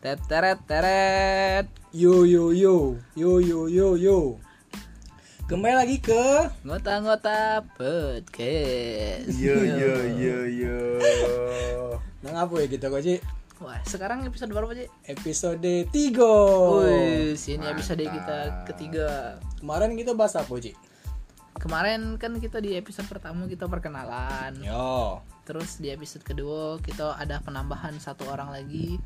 Teteret teret. Yo yo yo. Yo yo yo yo. Kembali lagi ke Ngota-ngota podcast. Iya. Yo yo yo yo. Nang apa ya kita kok sih? Wah, sekarang episode berapa, Ji? Episode 3 Oh, Wih, sini episode mantap. kita ketiga. Kemarin kita bahas apa Ci? Kemarin kan kita di episode pertama kita Iya. perkenalan. Yo Terus di episode kedua kita ada penambahan satu orang lagi.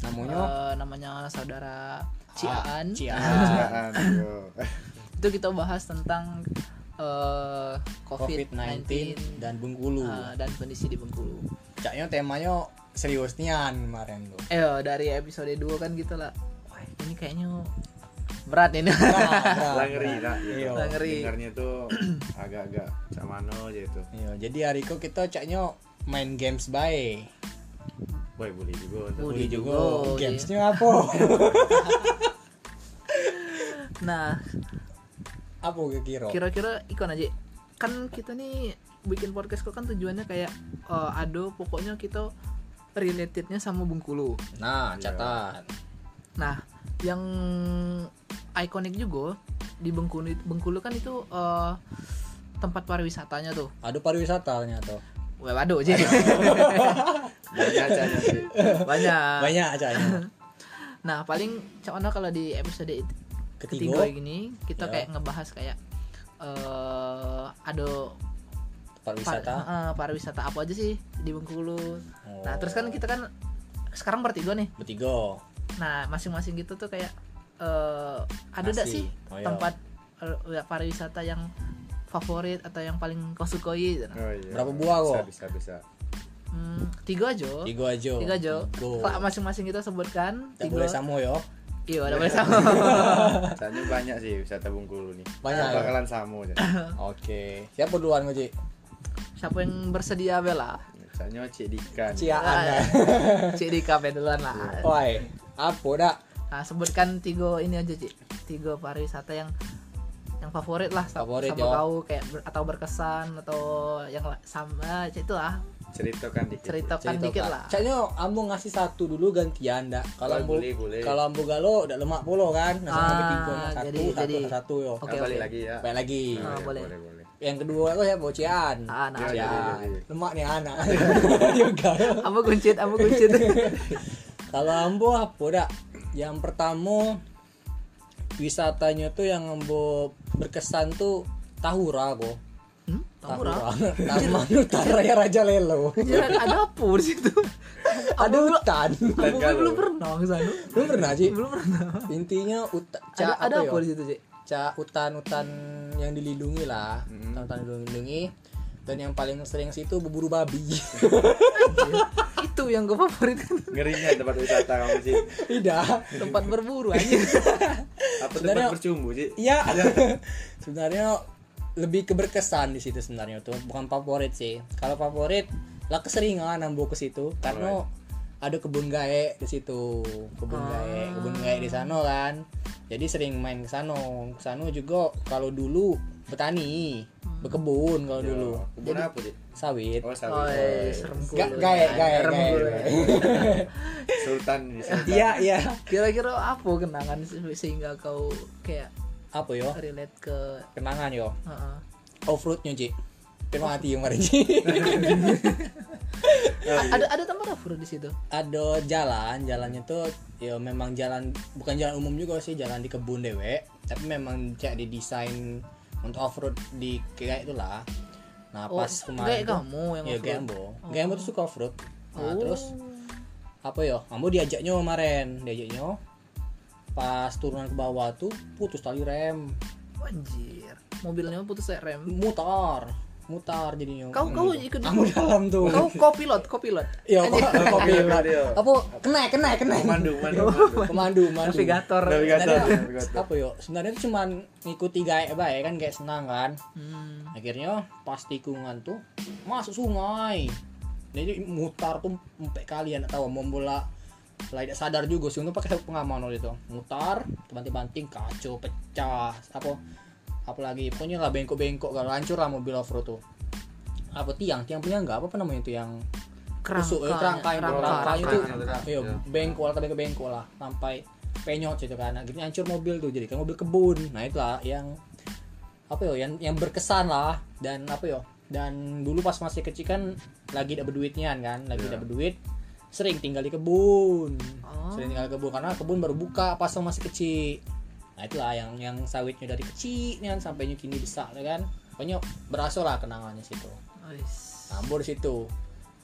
Namanya Ah, Eh, namanya saudara Ciaan. Cian Apaan, yo? Itu kita bahas tentang eh, COVID-19 COVID-19 dan Bengkulu eh, dan kondisi di Bengkulu. Caknya temanya serius nian kemarin tuh Eh dari episode 2 kan gitu lah. Wah, ini kayaknya berat ini. Nah, Lah ngeri lah. Iya. Gitu. Lah ngeri. Dengarnya tuh agak-agak sama gitu. no aja itu. Yo, Iya, jadi hari kok kita caknya main games baik Boy boleh juga. tuh. Boleh. Boleh juga juga, gamesnya apa? nah, apa kira-kira? kira-kira ikon aja. Kan kita nih bikin podcast kok kan tujuannya kayak eh, ado pokoknya kita relatednya sama Bengkulu. Nah, Iya. catat. Nah, yang ikonik juga di Bengkulu Bengkulu kan itu eh, tempat pariwisatanya tuh. Aduh pariwisata ternyata. Wah, waduh aja. Banyak aja sih. Banyak. Banyak acanya. Nah, paling cuman kalau di episode it- Ketiga, ketiga, gini kita Ya. kayak ngebahas kayak eh ada pariwisata. eh, pariwisata apa aja sih di Bengkulu. Oh. Nah, terus kan kita kan sekarang bertiga nih. Bertiga. Nah, masing-masing gitu tuh kayak eh ada enggak Masih. sih Oh, iya. tempat eh, ya, pariwisata yang favorit atau yang paling kau sukai? Ya. Nah, Oh, iya. Berapa buah, kok? Bisa bisa. bisa. Hmm, tiga aja. Tiga aja. Tiga aja. Tiga. Kalau masing-masing kita sebutkan Tak boleh sama yo. Iya, udah boleh sama. Soalnya banyak sih wisata Bengkulu nih. Banyak, ya? Bakalan sama aja. Oke. Siapa duluan Ngoci? Siapa yang bersedia bela? Soalnya Cik Dika. nih. Ciaan dah. Cik di kafe duluan lah. Woi, apa dak? Nah, sebutkan tiga ini aja, Cik. Tiga pariwisata yang yang favorit lah sa- Favorit, ya. sama yo. kau kayak ber- atau berkesan atau yang la- sama ya, itu lah Ceritakan dikit. Oh, ceritakan Cerita, dikit Kak. lah Caknya ambo ngasih satu dulu gantian dak. Kalau Oh, ambo boleh, boleh. kalau ambo galo dak lemak polo kan. Nah, sama Ah, bertiga nah, satu, jadi- satu, jadi. satu yo. Nah, Oke, balik oke. lagi ya. Baik lagi. Ah. iya, boleh. boleh. boleh. Yang kedua ya, aku siapa? Cian. Ah, Ya, nah. Iya, iya, Cian. iya. Lemak nih anak. Juga. Ambo kuncit, ambo kuncit. Kalau Ambo apa dak? Yang pertama wisatanya tuh yang Ambo berkesan tuh Tahura kok. Hmm? Tahura. Taman Hutan Raya Raja Lelo. Jalan ada apa di situ? Ada hutan. Ambo Galuh. belum pernah ke sana. Lu pernah sih? Belum pernah. Intinya hutan Ada, ada apa di ya? situ, Cik? Ca hutan-hutan yang dilindungi lah, Hmm. hutan-hutan yang dilindungi. Dan yang paling sering situ berburu babi. Itu yang gue favorit Ngerinya tempat wisata kamu sih. Tidak. tempat berburu aja. Apa tempat Sebenarnya- bercumbu sih? Iya. sebenarnya lebih keberkesan di situ sebenarnya tuh bukan favorit sih. Kalau favorit lah keseringan ambo ke situ karena ada kebun gae di situ. Kebun gae, kebun gae di sana kan. Jadi sering main ke sana. Ke sana juga kalau dulu petani, berkebun kalau dulu. iya, Kebun Oh, apa sih? Sawit. Iya. Oh, Oh, sawit. serem ya. Ga- gae, gae, gae. Sultan nih, Sultan. Iya, iya. Kira-kira apa kenangan se- sehingga kau kayak Apa yo? relate ke Kenangan yo. Oh, Heeh. Offroadnya, Ci. Terima hati yang kemarin, Ci. A- ada ada tempat apa di situ? ada jalan jalannya tuh ya memang jalan bukan jalan umum juga sih jalan di kebun dewe tapi memang cek didesain untuk off road di kayak itulah nah Oh, pas kemarin kayak tuh- kamu yang ya off-road. gambo gambo tuh suka off road nah Oh. terus apa yo ambo diajaknya kemarin diajaknya pas turunan ke bawah tuh putus tali rem Anjir. Mobilnya putus saya rem. mutar mutar jadinya Kau kau ikut kamu dalam tuh Kau kau pilot, kau pilot. Yo, kopi. Iya. Apa kena kena kena. Mandu, mandu, mandu. Iya, Pemandu, pemandu. Navigator. Navigator, Sebenarnya- navigator. apa yuk sebenarnya tuh cuman ngikuti gaya baik kan kayak senang kan Hmm. akhirnya oh, pas tikungan tuh masuk sungai jadi mutar tuh empat kali anak tahu mau bola lah tidak sadar juga sih untuk pakai sabuk pengaman waktu itu mutar banting-banting kacau pecah apa apalagi punya lah kan? bengkok-bengkok kalau hancur lah mobil off road tuh apa tiang tiang punya nggak apa, apa namanya itu yang Tusuk, eh, Kerangka, kerangkai, kerangka, kerangkai itu, kerangka. iya Iya. bengkol, tapi ke bengkol lah, sampai penyot gitu kan, akhirnya hancur mobil tuh, jadi kan mobil kebun, nah itulah yang apa yo, yang yang berkesan lah, dan apa yo, dan dulu pas masih kecil kan lagi dapat duitnya kan, lagi Iya. dapat duit, sering tinggal di kebun, Oh. sering tinggal di kebun karena kebun baru buka pas lo masih kecil, nah itulah yang yang sawitnya dari kecil kan sampai kini besar ya kan, pokoknya berasal lah kenangannya situ. Wis. Ambo di situ.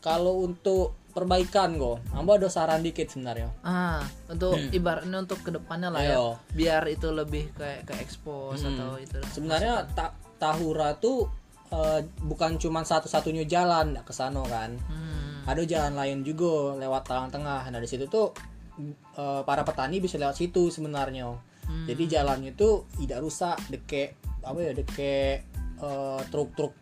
Kalau untuk perbaikan kok, Ambo ada saran dikit sebenarnya. Ah, untuk ibaratnya untuk kedepannya lah ya, Ayo. biar itu lebih kayak ke expose atau itu. Sebenarnya ta- Tahura tuh eh, bukan cuma satu-satunya jalan ke sana kan. Hmm. Ada jalan lain juga lewat talang tengah. Nah, di situ tuh eh, para petani bisa lewat situ sebenarnya. Hmm. Jadi jalannya tuh tidak rusak, deke apa ya, deke eh, truk-truk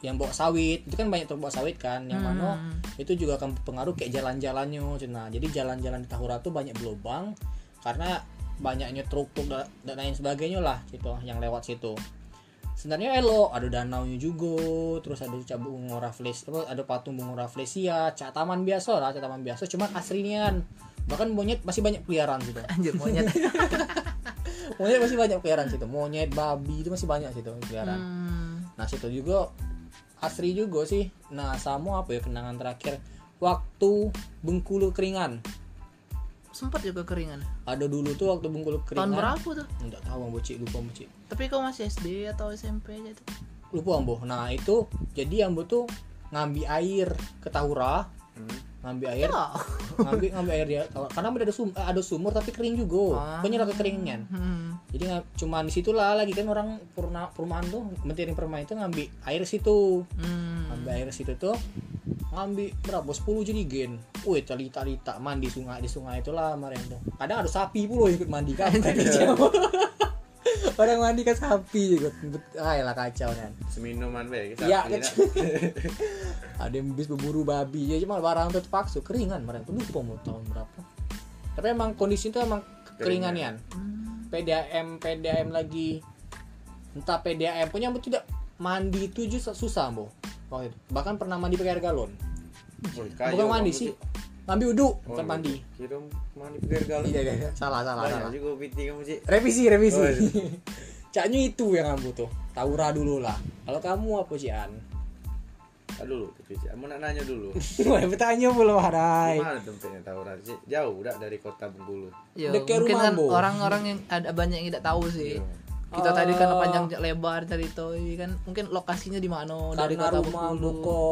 yang bawa sawit. Itu kan banyak truk bawa sawit kan yang mana Hmm. itu juga akan pengaruh kayak jalan-jalannya nah jadi jalan-jalan di Tahura tuh banyak berlubang karena banyaknya truk-truk da- dan lain sebagainya lah gitu yang lewat situ sebenarnya elo ada danau juga terus ada cabut bunga rafles apa, ada patung bunga raflesia cak taman biasa lah cak taman biasa cuman asrinian bahkan monyet masih banyak peliharaan gitu Anjir monyet. monyet masih banyak peliharaan situ monyet babi itu masih banyak situ peliharaan Hmm. Nah situ juga asri juga sih. Nah sama apa ya kenangan terakhir waktu Bengkulu keringan. Sempat juga keringan. Ada dulu tuh waktu Bengkulu Tahun keringan. berapa tuh? Nggak tahu Ambo Cik, lupa Ambo Cik. Tapi kau masih SD atau SMP aja tuh? Lupa Ambo. Nah itu jadi Ambo tuh ngambil air ke Tahura, Hmm. ngambil air, Oh. ngambil ngambil air dia. Karena ada sum, eh, ada sumur tapi kering juga. Ah. Banyak lah kekeringan. Hmm. Jadi nggak- cuman di situlah lagi kan orang purna, perumahan tuh, mentirin perumahan itu ngambil air situ. Hmm. ambil air situ tuh ngambil berapa 10 jadi gen wih cerita cerita mandi sungai di sungai itulah kemarin tuh kadang ada sapi pula ikut mandi kan kadang mandi kan sapi ikut ah lah kacau kan Seminuman be. Iya, kecil. ada yang bis berburu babi ya cuma barang tuh terpaksa keringan kemarin tuh lupa mau tahun berapa tapi emang kondisi itu emang Keringan. keringanian Hmm. PDAM PDAM lagi entah PDAM punya apa tidak mandi itu juga susah bu waktu itu bahkan pernah mandi pakai air galon bukan mandi sih mandi Oh, uduk bukan mandi Kira mandi biar galon. iya iya iya. salah salah iya, Banyak salah juga piti kamu sih. revisi revisi Oh, iya. caknya itu yang kamu tuh taura dulu lah kalau kamu apa sih an Tak dulu, tapi Cik. Aku nak nanya dulu. Wah, bertanya belum harai Mana tempatnya Taurat sih? Jauh dah dari kota Bengkulu. Ya, Dekat mungkin rumah kan Ambo. orang-orang yang ada banyak yang tidak tahu sih. Iya. Kita tadi kan Oh. panjang lebar dari itu kan mungkin lokasinya di mana Oh, dari karena kota rumah Bengkulu. Boko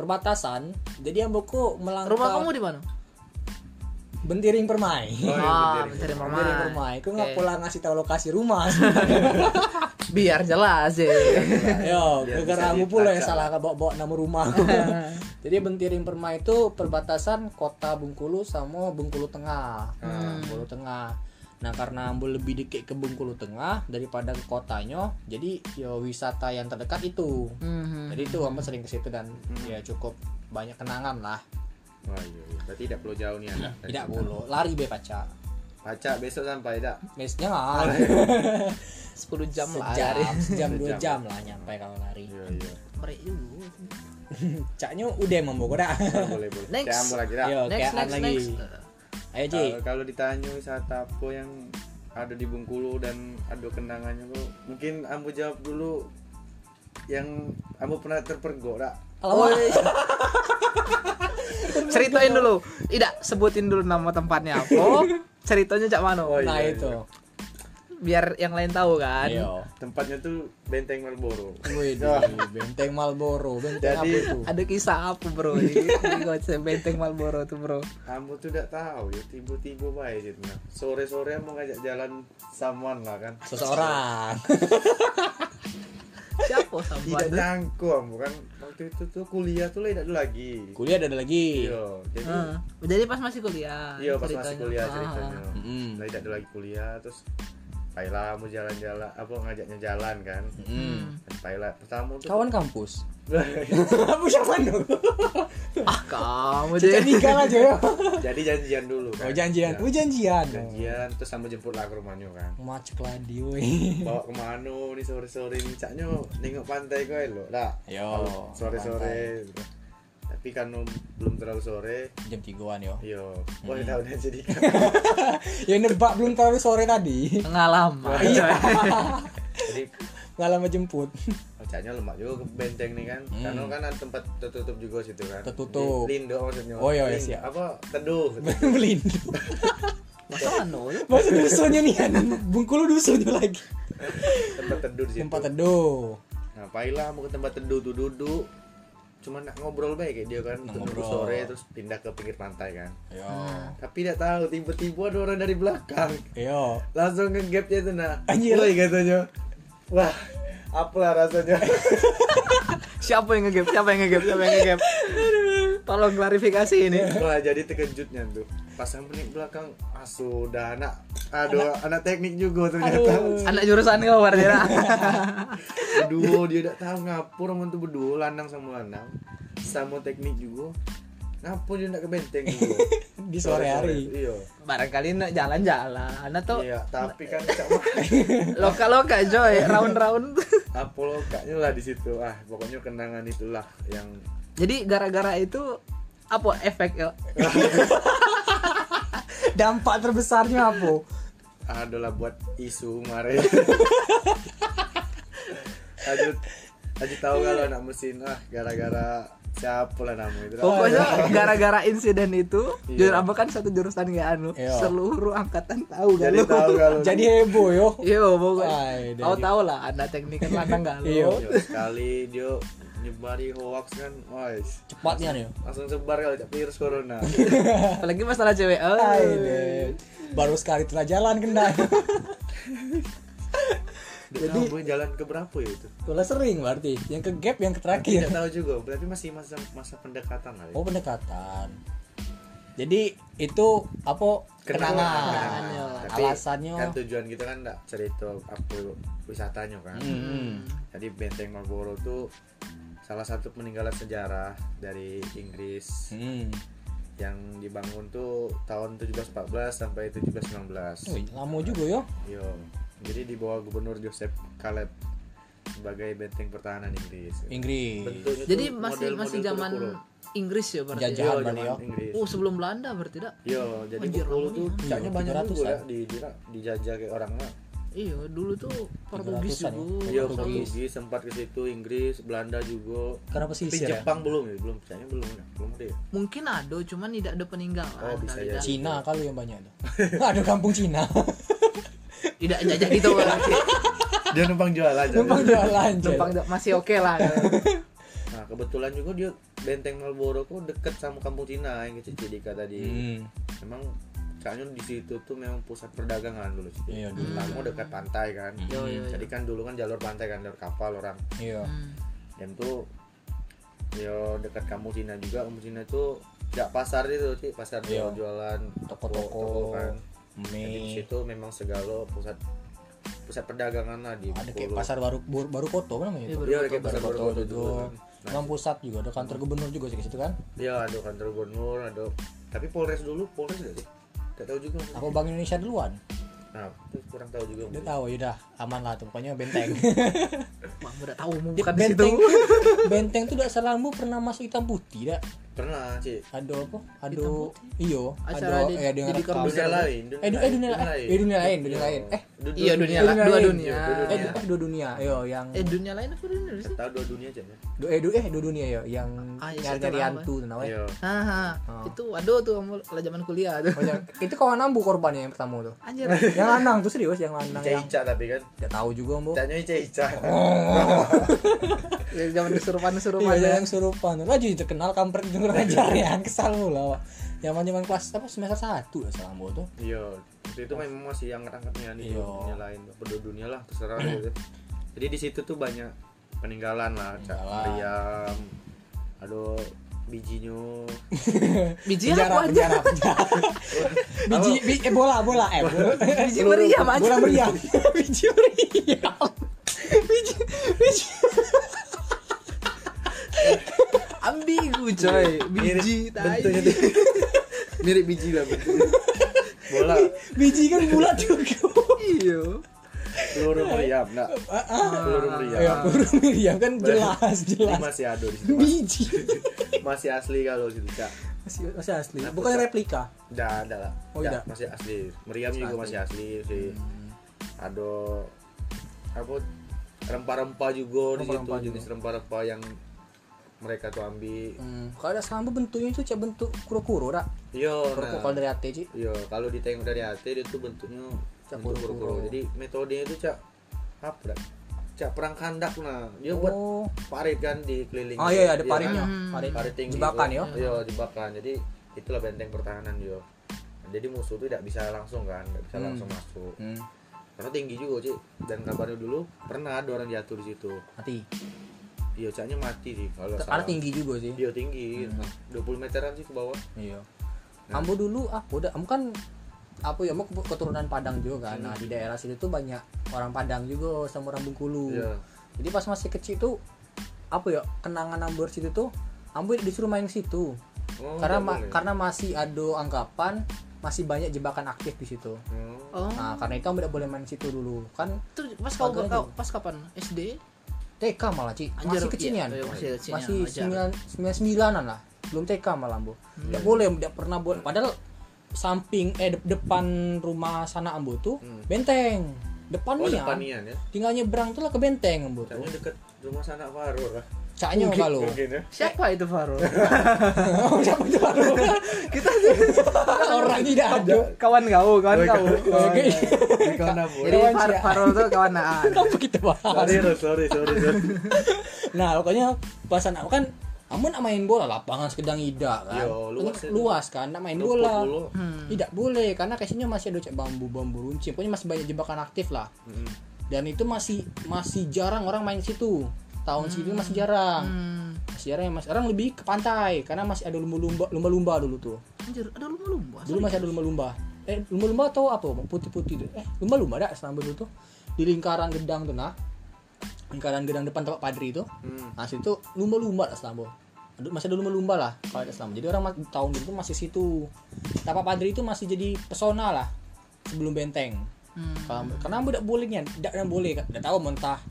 perbatasan jadi yang Boko melangkah Rumah kamu di mana? bentiring permai Oh, iya, ah, Benteng. mencari rumah. Bentiring permai, aku nggak Oke. Iya, pulang ngasih tahu lokasi rumah sebenarnya. Biar jelas ya. Yo, Iya, Biar gara bisa kamu pula yang dilacak. salah bawa-bawa nama rumah. Jadi Bentiring Permai itu perbatasan kota Bengkulu sama Bengkulu Tengah. Hmm. Bengkulu Tengah. Nah karena Ambul lebih dikit ke Bengkulu Tengah daripada ke kotanya, jadi yo wisata yang terdekat itu. Mhm. Jadi itu Ambul sering ke situ dan Hmm. ya cukup banyak kenangan lah. Wah, iya. iya. Berarti tidak perlu jauh nih anda. Tidak bulu, lari be pacar. Pacak besok sampai tak? Biasanya nggak. Oh, 10 jam lah Sejam, hari. sejam dua iya. Sejam. jam lah nyampe kalau lari. Iya iya. Merek dulu. Caknya udah emang Bogor dah. Ah, Boleh boleh. Next. Saya ambil lagi tak? Yo, Next, kean next, lagi. next. Ayo Ji. Kalau- Kalau ditanya wisata apa yang ada di Bengkulu dan ada kenangannya bro, mungkin ambo jawab dulu yang ambo pernah terpergok tak? Oh, Alamak. iya. Ceritain dulu. Tidak sebutin dulu nama tempatnya apa. Ceritanya cak mana. Oh, iya. Nah itu. Biar yang lain tahu kan. Ayo. Tempatnya tuh Benteng Marlboro. Wih, benteng Malboro, benteng Iya. Jadi- apa itu? Ada kisah apa bro di, di Goceng, Benteng Malboro tuh bro Ambo tuh tidak tahu ya tiba-tiba baik gitu. Nah, sore-sore mau ngajak jalan saman lah kan. Seseorang. Siapa Tidak sama nyangku ambo kan waktu itu tuh kuliah tuh tidak ada lagi. Kuliah ada lagi. Iya, jadi Heeh. Jadi pas masih kuliah iya pas ceritanya. masih kuliah Ah. ceritanya. Mm-mm. Nah, tidak ada lagi kuliah terus Paila mau jalan-jalan apa ngajaknya jalan kan. Hmm. Mm. Dan Paila pertama tuh Kawan kampus. Kamu siapa dong? Ah kamu Kita deh nikah aja Iya. ya. jadi janjian dulu kan. Oh janjian, Ya, oh janjian. janjian terus sama jemput lah ke rumahnya kan. Oh. Macek lagi, woi. Bawa kemana nih sore-sore nih caknya nengok pantai kau elok dak. Yo, Sore-sore. tapi karena belum terlalu sore jam tigaan yo yo Hmm. boleh tahu udah jadi ya nebak belum terlalu sore tadi pengalaman Iya. jadi nggak lama jemput Kacanya lemak juga ke benteng nih kan Hmm. Karena kan ada tempat tertutup juga situ kan Tertutup. Di- Lindo maksudnya Oh, iya, iya, Lindo. siap. Apa? Teduh melindu masa anu masa dusunnya nih kan bungkulu dusunnya lagi Tempat teduh di situ tempat teduh Nah Paila mau ke tempat teduh tuh duduk Cuma nak ngobrol baik kayak dia kan Nak Tunggu ngobrol. Iya. sore terus pindah ke pinggir pantai kan yo Tapi tidak tahu tiba-tiba ada orang dari belakang yo Langsung nge-gapnya tuh nah Anjir. Woi katanya Wah apalah rasanya siapa yang ngegap siapa yang ngegap siapa yang ngegap tolong klarifikasi ini Wah jadi terkejutnya tuh Pas sampai naik belakang Asu dah anak Aduh anak, teknik juga ternyata anak jurusan kau Wardira Berdua dia tak tahu ngapur Orang itu berdua lanang sama lanang Sama teknik juga Ngapur dia nak ke benteng juga Di sore hari. Iya barangkali nak jalan-jalan atau Iya tapi kan tak makan loka-loka joy round-round Apollo kaknya lah di situ ah pokoknya kenangan itulah yang jadi gara-gara itu apa efek yo dampak terbesarnya apa adalah buat isu kemarin lanjut lanjut tahu kalau anak mesin ah gara-gara siapa lah namanya itu pokoknya gara-gara insiden itu Iya. jujur apa kan satu jurusan gak anu Iya. seluruh angkatan tahu gak jadi lu tahu kalau jadi heboh yo Yo, Ay, pokoknya dari- tahu tahu lah ada teknik kan lanang gak Iya. lu Yo, sekali dia nyebari hoax kan wais cepatnya nih yo. langsung sebar kalau cak virus corona apalagi masalah cewek Hai, oh. deh. baru sekali telah jalan kena jadi tahu jalan ke berapa ya itu Itulah sering berarti yang ke gap yang ke terakhir tidak tahu juga berarti masih masa masa pendekatan lah ya. Oh pendekatan. Jadi itu apa kenangan, Kenangan. ya. Tapi alasannya. kan tujuan kita kan enggak cerita apa wisatanya kan Hmm. jadi benteng Marlboro tuh salah satu peninggalan sejarah dari Inggris Hmm. yang dibangun tuh tahun 1714 sampai 1719 Wih, lama juga yo. yo jadi di bawah gubernur Joseph Caleb sebagai benteng pertahanan Inggris Inggris. Bentuknya tuh jadi masih model-model masih zaman Bengkulu. Inggris ya berarti Yo, Jajahan zaman berarti yo. Inggris oh sebelum Belanda berarti tidak yo jadi Anjir, Bengkulu lama tuh nih. caknya Iya, banyak juga 300-an. ya di, di- dijajah kayak orang lah iya dulu tuh Portugis 300-an ya. juga Iya, Portugis. Portugis sempat ke situ, Inggris, Belanda juga. Kenapa sih Tapi ya? Jepang belum ya? Belum, kayaknya belum ya. Belum deh. mungkin ada cuman tidak ada peninggalan Oh, bisa kali jadi. dah. Cina kalau yang banyak tuh. Ada kampung Cina. tidak jajah gitu berarti. Dia numpang jualan. Numpang jalan Jel. numpang dah, masih oke lah Nah, kebetulan juga dia Benteng Marlboro kok deket sama kampung Cina yang kecil Cidika tadi. Hmm. Memang kayaknya di situ tuh memang pusat perdagangan dulu sih. Iya, dulu. Hmm. Kamu dekat pantai kan. Yo, yo, yo. Jadi kan dulu kan jalur pantai kan, jalur kapal orang. Iya. Hmm. Dan tuh yo dekat kampung Cina juga, kampung Cina tuh ya pasar itu sih, pasar Iya. jualan Toko-toko. kan. Jadi Mie. di situ memang segala pusat pusat perdagangan lah di Ada kayak Bengkulu. pasar baru baru, baru koto apa namanya Iya, itu. Baru Iya, ada Koto, kayak pasar Baru gitu. baru koto Koto juga. dulu kan. Nah, Emang pusat juga ada kantor gubernur juga sih di situ kan. Iya, ada kantor gubernur, ada tapi Polres dulu, Polres nggak sih? Tidak tahu juga. Apa Bank Indonesia duluan? Nah, itu kurang tahu juga. Udah tahu ya udah aman lah tuh pokoknya benteng. wah gue udah tahu mau Di bukan di situ benteng benteng tuh dak salah bu pernah masuk hitam putih dak Pernah sih. ada apa ada Hitam putih? iyo Acara ada di- eh, ada di ngerekam. Corbusier. Dunia lain, eh du- eh, dunia lain eh dunia lain dunia Iya. lain eh Du- Iya, dunia lain. dua lain. dunia. Iya, eh dua dunia. du- eh, dua dunia iyo yang eh dunia lain apa dunia lain sih Tahu dua dunia aja. ya? du- eh du- eh dua dunia iyo yang Ah, iya, nyari saya nyari tahu, hantu ya. tuh nawe Iya. ah, Oh. itu aduh tuh kamu lah zaman kuliah tuh Oh, yang- itu kawan ambu korbannya yang pertama tuh anjir yang lanang tuh serius yang lanang yang Ica-ica tapi kan. tidak tahu juga ambu Icanya ica-ica. Oh. Ya, zaman kesurupan kesurupan Iya, ya yang surupan. Lah jadi terkenal kampret itu kurang ajar ya, kesal lu lah. Zaman-zaman kelas apa semester 1 lah selama tuh. Iya, waktu itu memang masih yang angkatnya di Iya. dunia lain, berdua dunia lah terserah gitu. Jadi di situ tuh banyak peninggalan lah, Cak Peninggalan. Meriam, aduh bijinya biji Penjara, apa aja penjara, penjara. biji, bi- eh, bola, bola, eh, bola, Biji meriam aja. bola meriam, biji meriam, biji, biji, ambigu coy biji tai bentuknya tuh mirip biji lah bentuknya. bola Iya. biji kan bulat juga, iyo Peluru meriam, nak. Ah, Peluru meriam. ya peluru meriam kan jelas Ini jelas masih ada di situ. Mas. biji Masih asli kalau gitu, Kak. masih, masih asli bukan replika Udah ada lah. Oh, Dah, udah. Hmm. masih asli. Meriam juga masih asli sih. Ada apa rempah-rempah juga di situ Rempah-rempah jenis rempah-rempah yang mereka tuh ambil. hmm. kalau ada sambo bentuknya itu cak bentuk kuro kuro rak Iya, kuro nah. kalau dari hati sih Iya, kalau ditengok dari hati dia tuh bentuknya Cak bentuk kuro-kuro. kuro-kuro. Jadi metodenya itu cak apa? dah? Cak perang kandak nah. Dia buat oh parit kan dikelilingi. ah iya iya, ada Iya, paritnya kan? Hmm. parit Parit tinggi. jebakan tuh. ya Iya, jebakan. Jadi itulah benteng pertahanan dia. Jadi musuh tuh tidak bisa langsung kan, tidak bisa Hmm. langsung masuk. hmm. Karena tinggi juga, Cik. Dan kabarnya dulu pernah ada orang jatuh di situ. mati Iya, caknya mati sih kalau nggak karena salah. tinggi Hmm. juga sih Iya, tinggi. 20 meteran sih ke bawah. Iya. Hmm. Ambo dulu apa udah Ambo kan apa ya Ambo ke- keturunan Padang juga kan. Nah, Hmm. di daerah situ tuh banyak orang Padang juga sama orang Bengkulu. Iya. Jadi pas masih kecil tuh apa ya kenangan Ambo di situ tuh Ambo disuruh main ke situ. Oh, karena nggak ma- boleh. karena masih ada anggapan masih banyak jebakan aktif di situ. Oh. oh Nah, karena itu Ambo tidak boleh main ke situ dulu. Kan itu pas kau Agak kau pas kapan SD TK malah, Ci. Anjir, Masih kecinian. iya, iya, masih kecinian, Masih wajar. sembilan sembilan sembilanan lah. Belum TK malah, Bu. Nggak boleh, nggak pernah boleh. Padahal samping eh de- depan rumah sana Ambo tuh Hmm. benteng. Oh, Depannya. depan Nian ya. Tinggal nyebrang tuh lah ke benteng Ambo tuh. Caknya deket rumah sanak Faro lah. Caknya kalau. Mungkin ya. siapa itu Faro Siapa tuh Baru? kita Orang tidak ada. kawan kau kawan Kan kau Oke. Bukan apa. jadi Kawan Far- siapa? Faro itu kawan ah. Aan Kenapa kita bahas? Sorry, Ros, sorry, sorry, sorry. Nah, pokoknya pasan aku kan Amun nak main bola lapangan sekedang ida kan. Yo, luas itu. luas kan nak main Rumput bola. dulu. Hmm. Tidak boleh karena kayaknya masih ada cek bambu-bambu runcing. Pokoknya masih banyak jebakan aktif lah. Mm-mm. Dan itu masih masih jarang orang main situ. Tahun situ masih jarang. Hmm. Masih jarang yang masih orang lebih ke pantai karena masih ada lumba-lumba lumba-lumba dulu tuh. anjir ada lumba-lumba Dulu masih ada lumba-lumba. Eh, lumba-lumba atau apa? Bang? Putih-putih tuh. Eh, lumba-lumba dah selama dulu tuh. Di lingkaran gedang tuh nah. Lingkaran gedang depan tempat padri itu. Hmm. Nah, situ lumba-lumba lah Selambor. Aduh, masih ada lumba-lumba lah kalau ada Selambor. Jadi orang ma- tahun itu masih situ. Tapak Padri itu masih jadi pesona lah sebelum benteng. Hmm. Kalau karena tidak bolehnya, tidak ada boleh, tidak tahu mau entah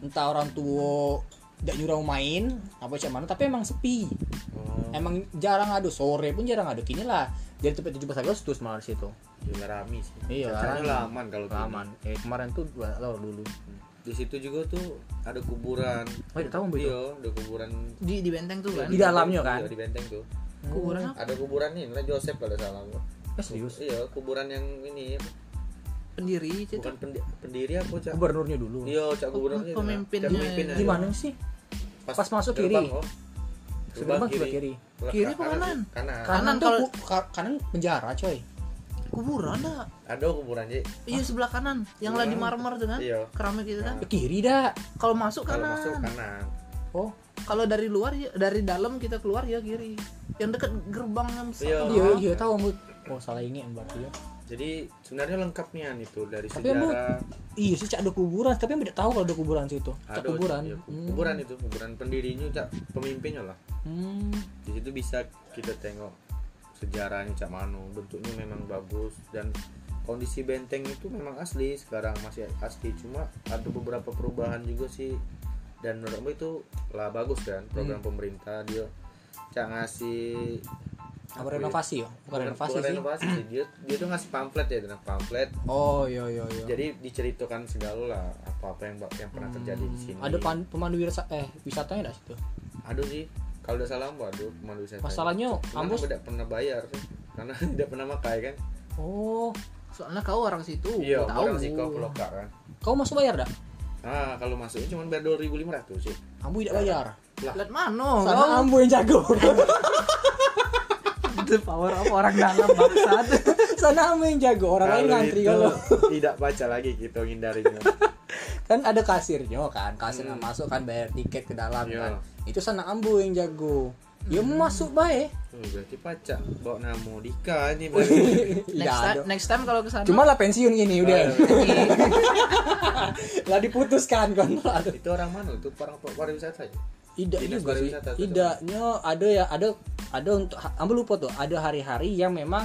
entah orang tua tidak nyuruh main apa macam mana tapi emang sepi Oh, emang jarang ada sore pun jarang ada kini lah jadi tempat 17 Agustus malah di situ gila rame sih. Iya, rame. Cacanya laman kalau gini. aman eh kemarin tuh dua tahun dulu Di situ juga tuh ada kuburan. Oh, ada tahu, Bu, itu? Iya, ada kuburan. di di benteng tuh kan Di dalamnya, kan? Iya, di benteng tuh. kuburan apa? Ada kuburan nih, namanya Joseph kalau nggak salah. Oh, Bu. eh serius Iya, kuburan yang ini pendiri itu kan bukan pendi- pendiri apa cak? gubernurnya dulu Iya, cak gubernurnya. itu, Nak. Pemimpinnya. Cak pemimpinnya. gimana sih Pas masuk kiri. gerbang, oh. Gerbang sebelah kiri. Kiri apa kanan? kanan? Kanan. Kanan kanan, tuh kalau- ku- ka- kanan penjara coy kuburan dah Ada kuburan sih. Oh, iya sebelah kanan yang lah di Kuburan. marmer tuh kan Iya. keramik gitu kan ke kiri dah kalau masuk Kalau masuk kan. kanan kanan. oh kalau dari luar ya- dari dalam kita keluar ya kiri yang dekat gerbang yang besar Iya. tuh. iya iya tahu Ambo. oh salah ingat berarti ya Jadi sebenarnya lengkap nih An, itu dari Tapi Ambo- sejarah. iya sih cak ada kuburan tapi Ambo tidak tahu kalau ada kuburan situ cak Ada, kuburan iya, ku- Hmm. kuburan itu kuburan pendirinya cak pemimpinnya lah hmm. di situ bisa kita tengok sejarahnya cak mano bentuknya memang bagus dan kondisi benteng itu memang asli sekarang masih asli cuma ada beberapa perubahan juga sih dan menurutmu itu lah bagus kan program Hmm. pemerintah dia cak ngasih apa apa ya? renovasi ya bukan renovasi bukan sih renovasi sih. dia dia tuh ngasih pamflet ya tentang pamflet oh iya iya iya jadi diceritakan segala lah apa apa yang yang pernah terjadi di sini Hmm. ada pan- pemandu wirasa- eh wisatanya enggak situ Aduh sih, kalau udah salah Ambo, aduh pemandu wisata. Masalahnya, Cuman Ambo- aku tidak pernah bayar sih. Karena tidak pernah makai kan. oh soalnya kau orang Uh, situ Iya, gua tahu orang sih kau peloka kan. kau masuk bayar dah Ah, kalau masuknya cuma bayar 2500 sih. Ambo tidak bayar lihat mano sama kau Ambo yang jago the power of orang dalam bangsat sana Ambo yang jago orang lain ngantri itu kalau tidak baca lagi gitu kita ngindarinya. kan ada kasirnya kan kasir Hmm. yang masuk kan bayar tiket ke dalam Iya. kan itu sana ambu yang jago ya Hmm. masuk baik Tuh, Oh, berarti pacak bawa nama Dika ini berarti. next time next time kalau kesana cuma lah pensiun gini udah Iya. lah diputuskan kontrak itu orang mana? Itu orang pariwisata ya? tidak Dinas juga sih pariwisata tuh. tidaknya ada ya ada ada untuk ambu lupa tuh ada hari-hari yang memang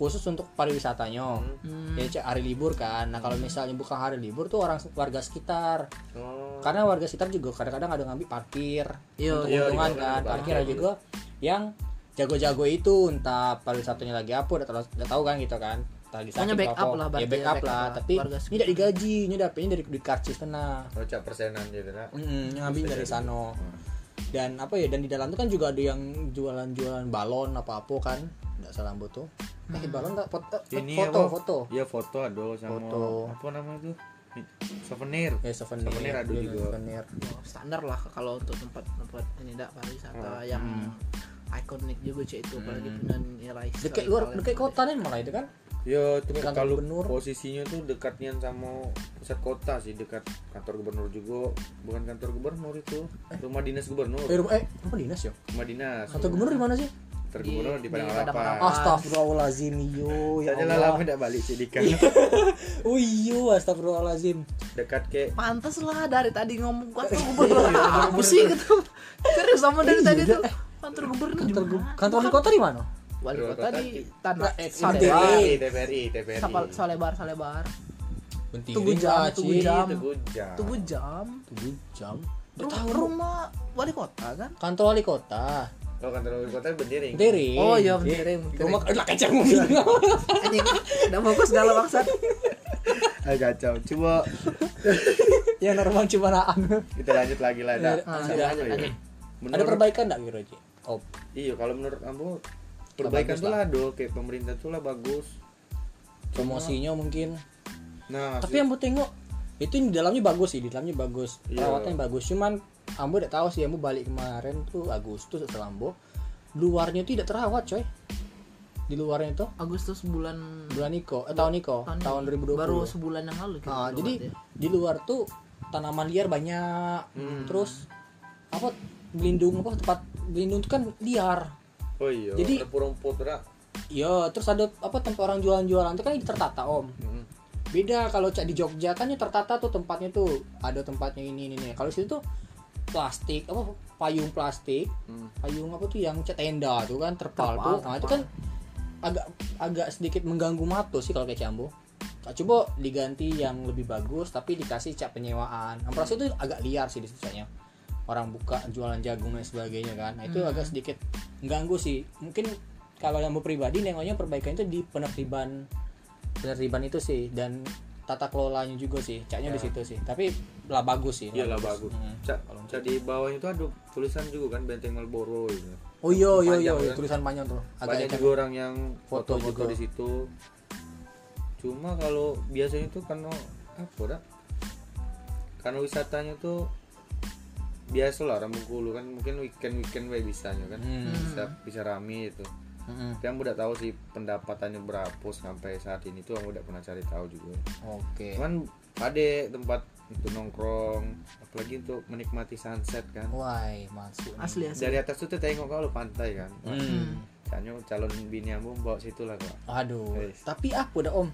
khusus untuk pariwisatanya Hmm. ya cek hari libur kan nah kalau misalnya bukan hari libur tuh orang warga sekitar Oh. karena warga sekitar juga kadang-kadang ada ngambil parkir Iya, untuk iya, keuntungan iya, kan iya, parkir iya. ada juga yang jago-jago itu entah pariwisatanya lagi apa udah tahu tahu kan gitu kan entah lagi Pokoknya sakit backup apa. lah, ya berarti backup ya, lah backup tapi lah, warga ini tidak digaji ini dapetnya dari duit karcis kena Oh, cak persenan gitu nah. Mm, ngambil Bisa dari jadi. sano Hmm. dan apa ya dan di dalam tuh kan juga ada yang jualan-jualan balon apa apa kan nggak salah ambo tuh eh balon nggak foto Hmm. Ini foto apa? foto Iya foto aduh sama Foto. apa namanya tuh? Souvenir. ya souvenir, Souvenir ada Iya, juga. souvenir. Oh, standar lah kalau untuk tempat-tempat ini dak pariwisata Hmm. yang ikonik juga cek itu apalagi punya nilai dekat historical luar yang dekat gede. kota nih malah itu kan Ya, itu Kantor kalau gubernur. posisinya tuh dekatnya sama pusat kota sih, dekat kantor gubernur juga. Bukan kantor gubernur itu, rumah dinas gubernur. eh rumah eh rumah dinas ya Rumah dinas. Kantor gubernur di mana sih? Kantor gubernur Di- di di Padang Padang Harapan. Harapan. Oh. Astagfirullahalazim yo ya Saja lah Ah. lama Allah. tidak balik sih di Iya. Oh iyo astagfirullahalazim. Dekat ke pantes lah dari tadi ngomong kantor gubernur apa sih gitu Iya, serius sama dari Iya, tadi iya. tuh kantor gubernur Kantor di gu- mana? kantor wali kota di mana? wali Kantor kota kota di di- tanah Nah, eh, salebar TPRI. TPRI, TPRI, TPRI. Sapal- salebar salebar Tunggu Tugu jam tunggu jam Tugu jam. tunggu jam Tunggu jam. rumah, Udah tahu rumah. rumah wali kota kan Kantor wali kota. Kalau kantor wali kota bendering. Bentering. Oh, iya, Iya. Bentering, Bentering. Rumah lah kecil mobil. anjing udah fokus segala maksud Ah, kacau. Coba Yang Ya, normal cuma naan. kita lanjut lagi lah. Ya, Dak. ah, Sama iya, apa lanjut, ya? lanjut. Menurut- Ada perbaikan enggak kira Ci? Oh, Iya, kalau menurut Ambo perbaikan bagus tuh lah. lah do kayak pemerintah tuh lah bagus. promosinya mungkin. Nah, Tapi yang gue tengok itu di dalamnya bagus sih, di dalamnya bagus. Iya. Perawatannya bagus. Cuman Ambo udah tahu sih, Ambo balik kemarin tuh Agustus setelah Ambo. Luarnya tuh tidak terawat, coy. Di luarnya tuh Agustus bulan bulan Niko, eh, tahun Niko, tahun, 2020. baru sebulan yang lalu kita Ah, keluar jadi ya. di luar tuh tanaman liar banyak. Terus apa belindung apa tempat belindung tuh kan liar. oh iya, Jadi- ada rumput rak. Iya, terus ada apa tempat orang jualan-jualan tuh kan tertata, Om. Mm. beda kalau cak di Jogja kan ya tertata tuh tempatnya tuh ada tempatnya ini ini, ini. kalau di situ tuh plastik apa payung plastik Hmm. payung apa tuh yang cak tenda tuh kan terpal, Terpal, tuh nah itu terpal. kan agak agak sedikit mengganggu mata sih kalau kayak Ciambo Kak, coba diganti yang lebih bagus tapi dikasih cak penyewaan amplas itu agak liar sih di situ caknya. orang buka jualan jagung dan sebagainya kan nah, itu Hmm. agak sedikit mengganggu sih mungkin kalau yang pribadi nengoknya perbaikan itu di penertiban penertiban itu sih dan tata kelolanya juga sih caknya Ya. di situ sih tapi lah bagus sih Iya lah bagus. Mm. Cak, cak di bawahnya tuh ada tulisan juga kan Benteng Marlboro gitu. oh iya iya iya Panjang, iya, kan? tulisan panjang tuh Banyak agak juga orang yang kan? Foto foto-foto juga. di situ. Cuma kalau biasanya tuh karena apa rak? Karena wisatanya tuh biasa lah orang Bengkulu kan mungkin weekend weekend we bisanya kan Hmm. bisa bisa rame itu Mm-mm. Tapi yang udah tahu sih pendapatannya berapa sampai saat ini tuh yang udah pernah cari tahu juga. oke Cuman ada tempat untuk nongkrong, apalagi untuk menikmati sunset kan. Oh. why masuk nih. asli asli Dari atas tuh tengok kalau pantai kan. Wah, Hmm. Kayaknya calon bini ambo bawa situ lah kok. Aduh, Wes. tapi aku udah om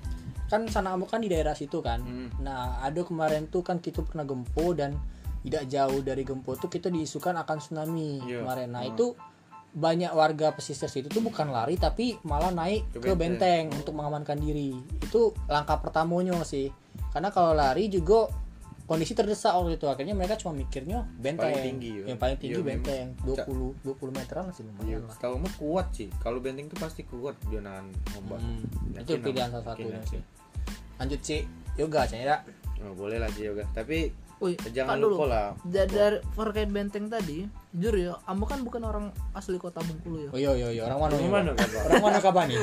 kan sana kamu kan di daerah situ kan. Hmm. Nah, aduh kemarin tuh kan kita pernah gempo dan tidak jauh dari gempo tuh kita diisukan akan tsunami Iya. kemarin. Nah itu banyak warga pesisir situ tuh bukan lari tapi malah naik ke, Ke benteng. Oh. benteng untuk mengamankan diri. Itu langkah pertamanya sih. Karena kalau lari juga kondisi terdesak waktu itu akhirnya mereka cuma mikirnya benteng Paling tinggi, ya. yang paling tinggi Iya, memang. benteng Ca- 20 Iya, 20 meteran masih lumayan lah. Setahu mah kuat sih. Kalau benteng tuh pasti kuat dia nahan ombak. Hmm, Yakin itu lah, pilihan salah yakin, satunya yakin. sih. Lanjut sih, yoga sih ya. Oh, boleh lah sih yoga. Tapi Woi, eh, jangan tak dulu. lupa lah. Da- dari terkait benteng tadi jujur ya kamu kan bukan orang asli kota Bengkulu ya Oh yo yo yo, orang mana? Ini yo? mana kabar? Orang mana kabar nih?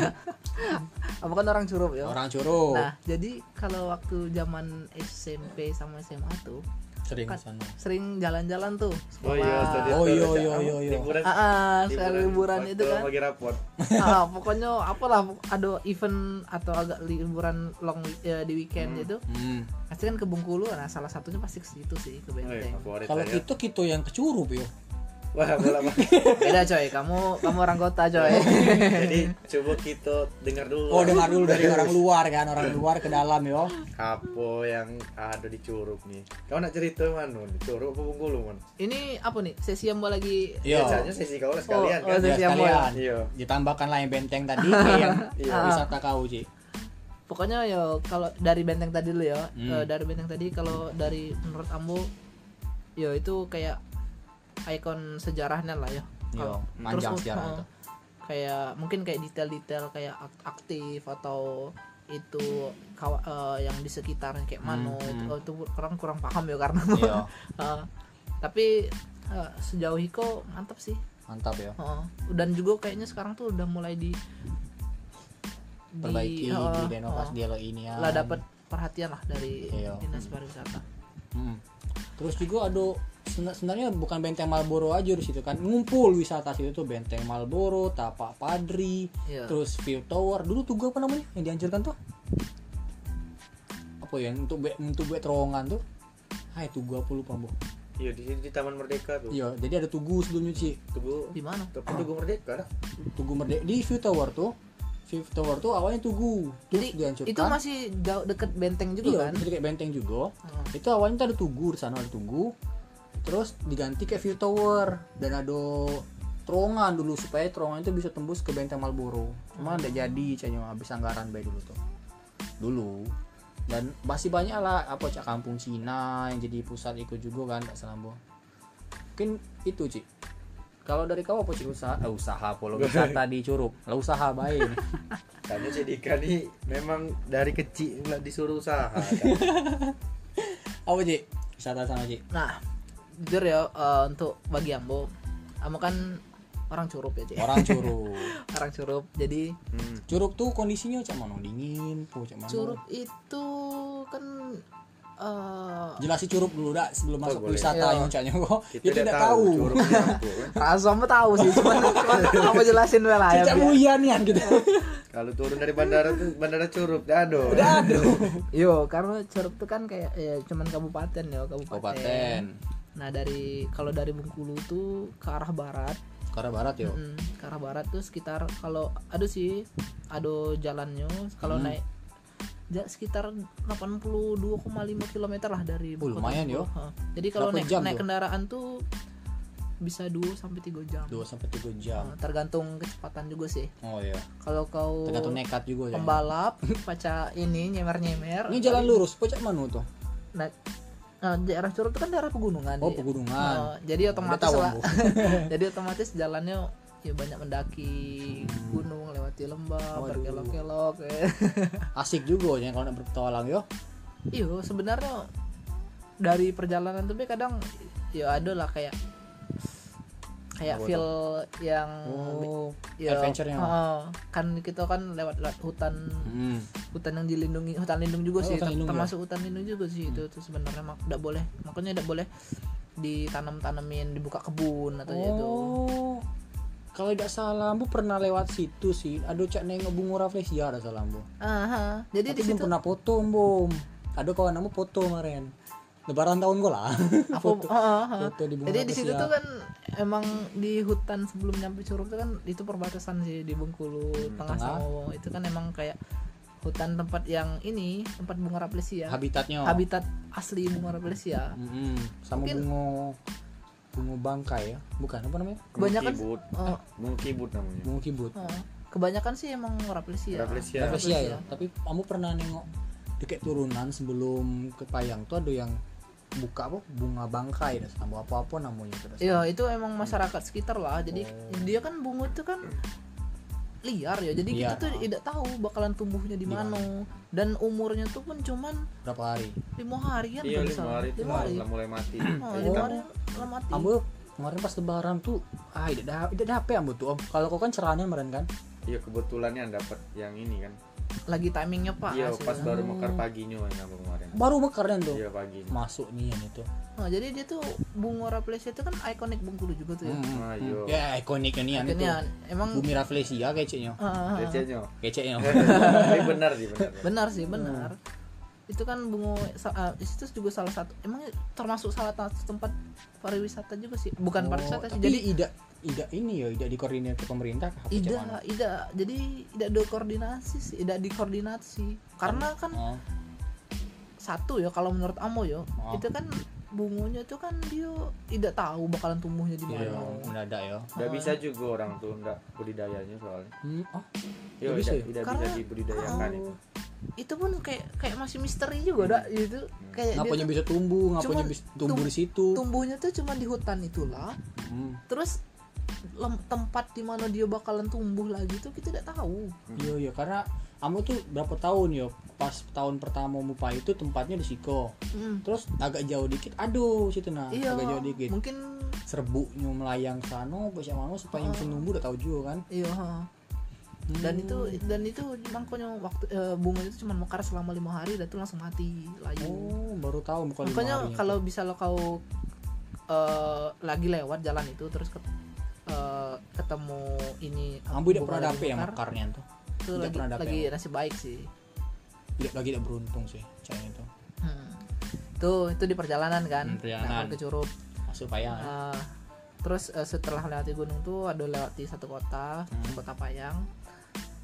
kamu kan orang curup ya Orang curu. nah jadi kalau waktu zaman SMP sama SMA tuh Sering kan- kesana. sering jalan-jalan tuh Oh iya, tadi Oh, tuh ada iya, Cak iya, Am, iya, iya. liburan- Ah, ah, sekali liburan waktu itu kan bagi rapor. ah, pokoknya apalah ada event atau agak liburan long eh, di weekend itu Hmm. pasti kan ke Bengkulu nah salah satunya pasti ke situ sih ke Oh, iya, Benteng favorit Kalau gitu saya. kita kita yang kecurup yo. Wah, bola Pak. Beda coy, kamu kamu orang kota coy. Jadi coba kita dengar dulu. Oh dengar dulu dari orang luar kan, orang luar ke dalam yo. Apa yang ada di Curug nih? Kau nak cerita mana? Di Curug apa Bengkulu man? Ini apa nih? Sesi yang mau lagi Yo. Biasanya sesi kau lah sekalian Oh, oh, kan? sesi. Ya, Siap, Iya, sekalian. Iya. Ditambahkan lah yang benteng tadi ke yang Iya. wisata kau Ci. pokoknya yo kalau dari benteng tadi dulu ya Eh, Hmm. dari benteng tadi kalau dari menurut ambo yo itu kayak ikon sejarahnya lah ya Yo, Kalau- panjang terus, sejarah eh, itu. kayak mungkin kayak detail-detail kayak ak- aktif atau itu kawa- eh, yang di sekitarnya kayak Hmm, mano hmm. Iya. itu, oh, itu orang kurang paham ya karena Yo, Eh, tapi eh, sejauh Hiko mantap sih mantap yo. Heeh. dan juga kayaknya sekarang tuh udah mulai di di- Perbaiki heeh, di renovasi heeh. dialog ini ya. lah dapat perhatian lah dari Iya. dinas pariwisata Hmm. Terus juga ada sena- sebenarnya bukan benteng Marlboro aja di situ kan ngumpul wisata situ tuh benteng Marlboro, Tapak Padri, Iya. terus View Tower. Dulu tuh gua apa namanya yang dihancurkan tuh? Apa ya untuk buat untuk buat terowongan tuh? Hai tugu apa lupa bu? Iya di sini di Taman Merdeka tuh. Iya, Ah. jadi ada tugu sebelumnya sih. Tugu di mana tapi Tugu Merdeka dah. Tugu merdeka di View Tower tuh. View Tower tuh awalnya tugu, terus jadi dihancurkan. itu masih jauh deket benteng iya, juga kan jadi kayak benteng juga. Heeh. itu awalnya tuh ada tugu di sana ada tugu terus diganti ke view tower dan ada terowongan dulu supaya terowongan itu bisa tembus ke benteng Marlboro cuma nggak jadi cuma habis anggaran baik dulu tuh dulu dan masih banyak lah apa cak kampung Cina yang jadi pusat ikut juga kan nggak salah Bu. mungkin itu Ci kalau dari kau apa Ci usaha eh, usaha polo wisata di Curug lah usaha baik ini. Karena si Dika nih memang dari kecil nggak disuruh usaha. kan? Ya, apa Ci wisata sama Ci nah jujur ya eh, untuk bagi ambo ambo kan orang curup ya Cik. orang Curug orang curup jadi Hmm. Curug tuh kondisinya cak mana dingin po cak mana curup itu kan eh jelasin curup dulu dak sebelum masuk Oh, boleh. wisata Iya. yang ucapnya gua itu Kita nggak tidak tahu curugnya apa, kan? rasa ambo Ah, tahu sih cuman cuman ambo jelasin dulu lah ya cicak biar- muyan kan gitu Kalau turun dari bandara tuh bandara Curug dah aduh. yo karena curup tuh kan kayak ya, cuman kabupaten ya kabupaten, kabupaten nah dari kalau dari Bengkulu tuh ke arah barat Korea Barat ya, yo Mm, ke arah barat tuh sekitar kalau aduh sih aduh jalannya kalau Hmm. naik ja, sekitar 82,5 km lah dari Oh, kota Bengkulu. lumayan, yo. Ha. Jadi kalau Berapa naik jam naik tuh? kendaraan tuh bisa 2 sampai 3 jam. dua sampai tiga jam Ha, tergantung kecepatan juga sih. oh iya Kalau kau tergantung nekat juga ya pembalap paca ini nyemer-nyemer. ini jalan lurus pojok mana tuh Nah, nah, daerah Curug itu kan daerah pegunungan. oh Ji. pegunungan Nah, jadi otomatis tahu, lah. Bu. jadi otomatis jalannya ya banyak mendaki gunung, lewati lembah, Hmm. Waduh. berkelok-kelok. ya. asik juga ya kalau nak berpetualang yo Iyo, sebenarnya dari perjalanan tuh Be, kadang ya ada lah kayak kayak Apa feel yang oh ya, adventure-nya. heeh. kan kita kan lewat lewat hutan hmm. hutan yang dilindungi hutan lindung juga Oh, sih ter- hutan lindung termasuk hutan lindung juga sih itu tuh sebenarnya mak tidak boleh makanya tidak boleh ditanam tanamin dibuka kebun atau gitu. itu oh kalau tidak salah bu pernah lewat situ sih aduh cak nengok bunga Rafflesia ada salah bu Aha. jadi Tapi di belum situ pernah foto bom ada kawan kamu foto kemarin lebaran tahun gue lah apa foto heeh, heeh. foto di bunga jadi di situ Akasia. tuh kan emang di hutan sebelum nyampe Curug tuh kan itu perbatasan sih di Bengkulu tengah Hmm, tengah. Sawo itu kan emang kayak hutan tempat yang ini tempat bunga raplesia habitatnya habitat asli bunga raplesia Mm-mm. sama Mungkin- bunga bunga bangkai ya bukan apa namanya Kebanyakan- Bungkibut. Eh, Bungkibut namanya. bunga kibut eh, kebanyakan sih emang raplesia Rafflesia Rafflesia. Rafflesia. ya tapi kamu pernah nengok deket turunan sebelum ke Payang tuh ada yang buka apa bunga bangkai dan sama apa apa namanya itu dah. Iya itu emang masyarakat sekitar lah. Jadi Oh. dia kan bungut tuh kan liar ya. Jadi kita Liar, tuh ah. tidak tahu bakalan tumbuhnya di Di mana dan umurnya tuh pun cuman berapa hari lima harian Iya kalau lima salah. hari itu Lima hari. lah mulai mati. Oh, Kayak lima hitam. hari lah mati. Iya. Ambo kemarin pas lebaran tuh ah tidak da- tidak dapet ambo tuh om kalau kau kan cerahnya kemarin kan Iya kebetulannya dapat yang ini kan. Lagi timingnya ya. pak. Iya sih. pas baru mekar paginya kan apa kemarin. baru mekaran tuh Iya paginya. masuk nih yang itu Nah, jadi dia tuh bungo raplesia itu kan ikonik Bengkulu juga tuh ya. Hmm, Ah, hmm. yo. ya ikoniknya nih yang itu Akhirnya emang bumi Rafflesia keceknya Iya, Ah, ah, ah. Recehnya. keceknya Tapi benar sih benar. Hmm. benar sih benar. itu kan bungo sa- eh, itu juga salah satu emang termasuk salah satu tempat pariwisata juga sih bukan Oh, pariwisata sih tapi jadi ida ida ini ya ida dikoordinir ke pemerintah kah? Apa tidak cak mana? tidak jadi tidak dikoordinasi sih tidak dikoordinasi karena kan Oh, satu ya kalau menurut Amo yo Oh. itu kan bungunya itu kan dia tidak tahu bakalan tumbuhnya di iya, mana mendadak ya. Nggak Ah. bisa juga orang tuh nggak budidayanya soalnya. Hmm, oh, Yo, Nggak bisa tidak ya? tidak bisa Karena- dibudidayakan oh. itu. itu pun kayak kayak masih misteri juga dak Hmm. itu kayak dia ngapanya tuh bisa tumbuh, ngapanya Cuman bisa tumbuh tum- di situ. tumbuhnya tuh cuma di hutan itulah Hmm. terus lem- tempat di mana dia bakalan tumbuh lagi tuh kita tidak tahu Iya iya karena kamu tuh berapa tahun yo pas tahun pertama Mupa itu tempatnya di Siko. Mm. Terus agak jauh dikit, aduh situ nah, iya agak jauh dikit. mungkin Serbuknya melayang ke sana, bos yang mana supaya Ah. musim tumbuh udah tahu juga kan. iya ha. Hmm. dan itu dan itu makanya waktu eh, bunga itu cuma mekar selama lima hari dan itu langsung mati layu Oh, baru tahu bukan lima makanya harinya. kalau bisa lo kau eh, lagi lewat jalan itu terus ke- eh, ketemu ini eh, Ambu tidak pernah lagi dapet yang mekar, makarnya tuh. itu tidak lagi pernah ya, dapet lagi yang- nasib baik sih Tidak lagi tidak beruntung sih cahaya itu. Hmm. tuh itu di perjalanan kan Hmm, perjalanan. Ah. Nangkal ke Curup Masuk payah. Eh, terus eh, setelah lewati gunung tuh ada lewati satu kota Hmm. kota Payang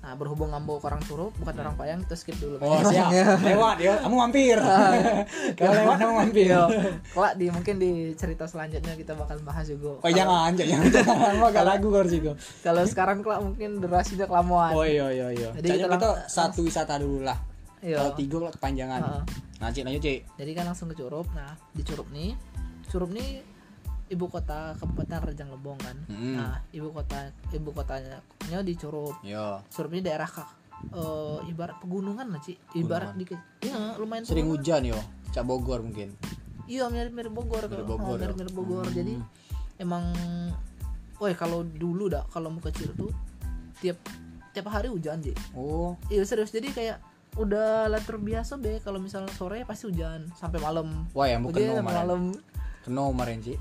nah berhubung ngambo ke orang Curup bukan orang Payang kita skip dulu Hmm. Oh, siap. Lewat ya. Kamu mampir. Kalau lewat kamu mampir. Yo, kelak di mungkin di cerita selanjutnya kita bakal bahas juga. Oh, jangan, jangan. Jangan Gua agak lagu harus itu. Kalau sekarang kelak mungkin durasinya kelamaan. Oh iya iya iya. Jadi Jadi kita kita lang- satu wisata dulu lah. Yo. Ah. Kalau oh, tiga lah kepanjangan. Iya. Heeh. Nah, Cik lanjut, Cik. Jadi kan langsung ke Curup. Nah, di Curup nih, Curup nih ibu kota Kabupaten Rejang Lebong kan. Mm. Nah, ibu kota ibu kotanya nya di Curup. Yo. Curup ini daerah kak eh, ibarat pegunungan lah, Ci. Ibarat dikit. Iya, lumayan Sering pegunungan. hujan yo. Cak Bogor mungkin. Iya, mirip-mirip Bogor. Mirip kalau- Bogor, oh, mirip-mirip ya. Bogor. Hmm. Jadi emang woi kalau dulu dah kalau mau kecil tuh tiap tiap hari hujan, Ci. Oh, Iya serius jadi kayak udah lah terbiasa be kalau misalnya sore pasti hujan sampai malam. wah ya bukan Hujan sampai kemarin. Oh, malam. Kena kemarin, Cik.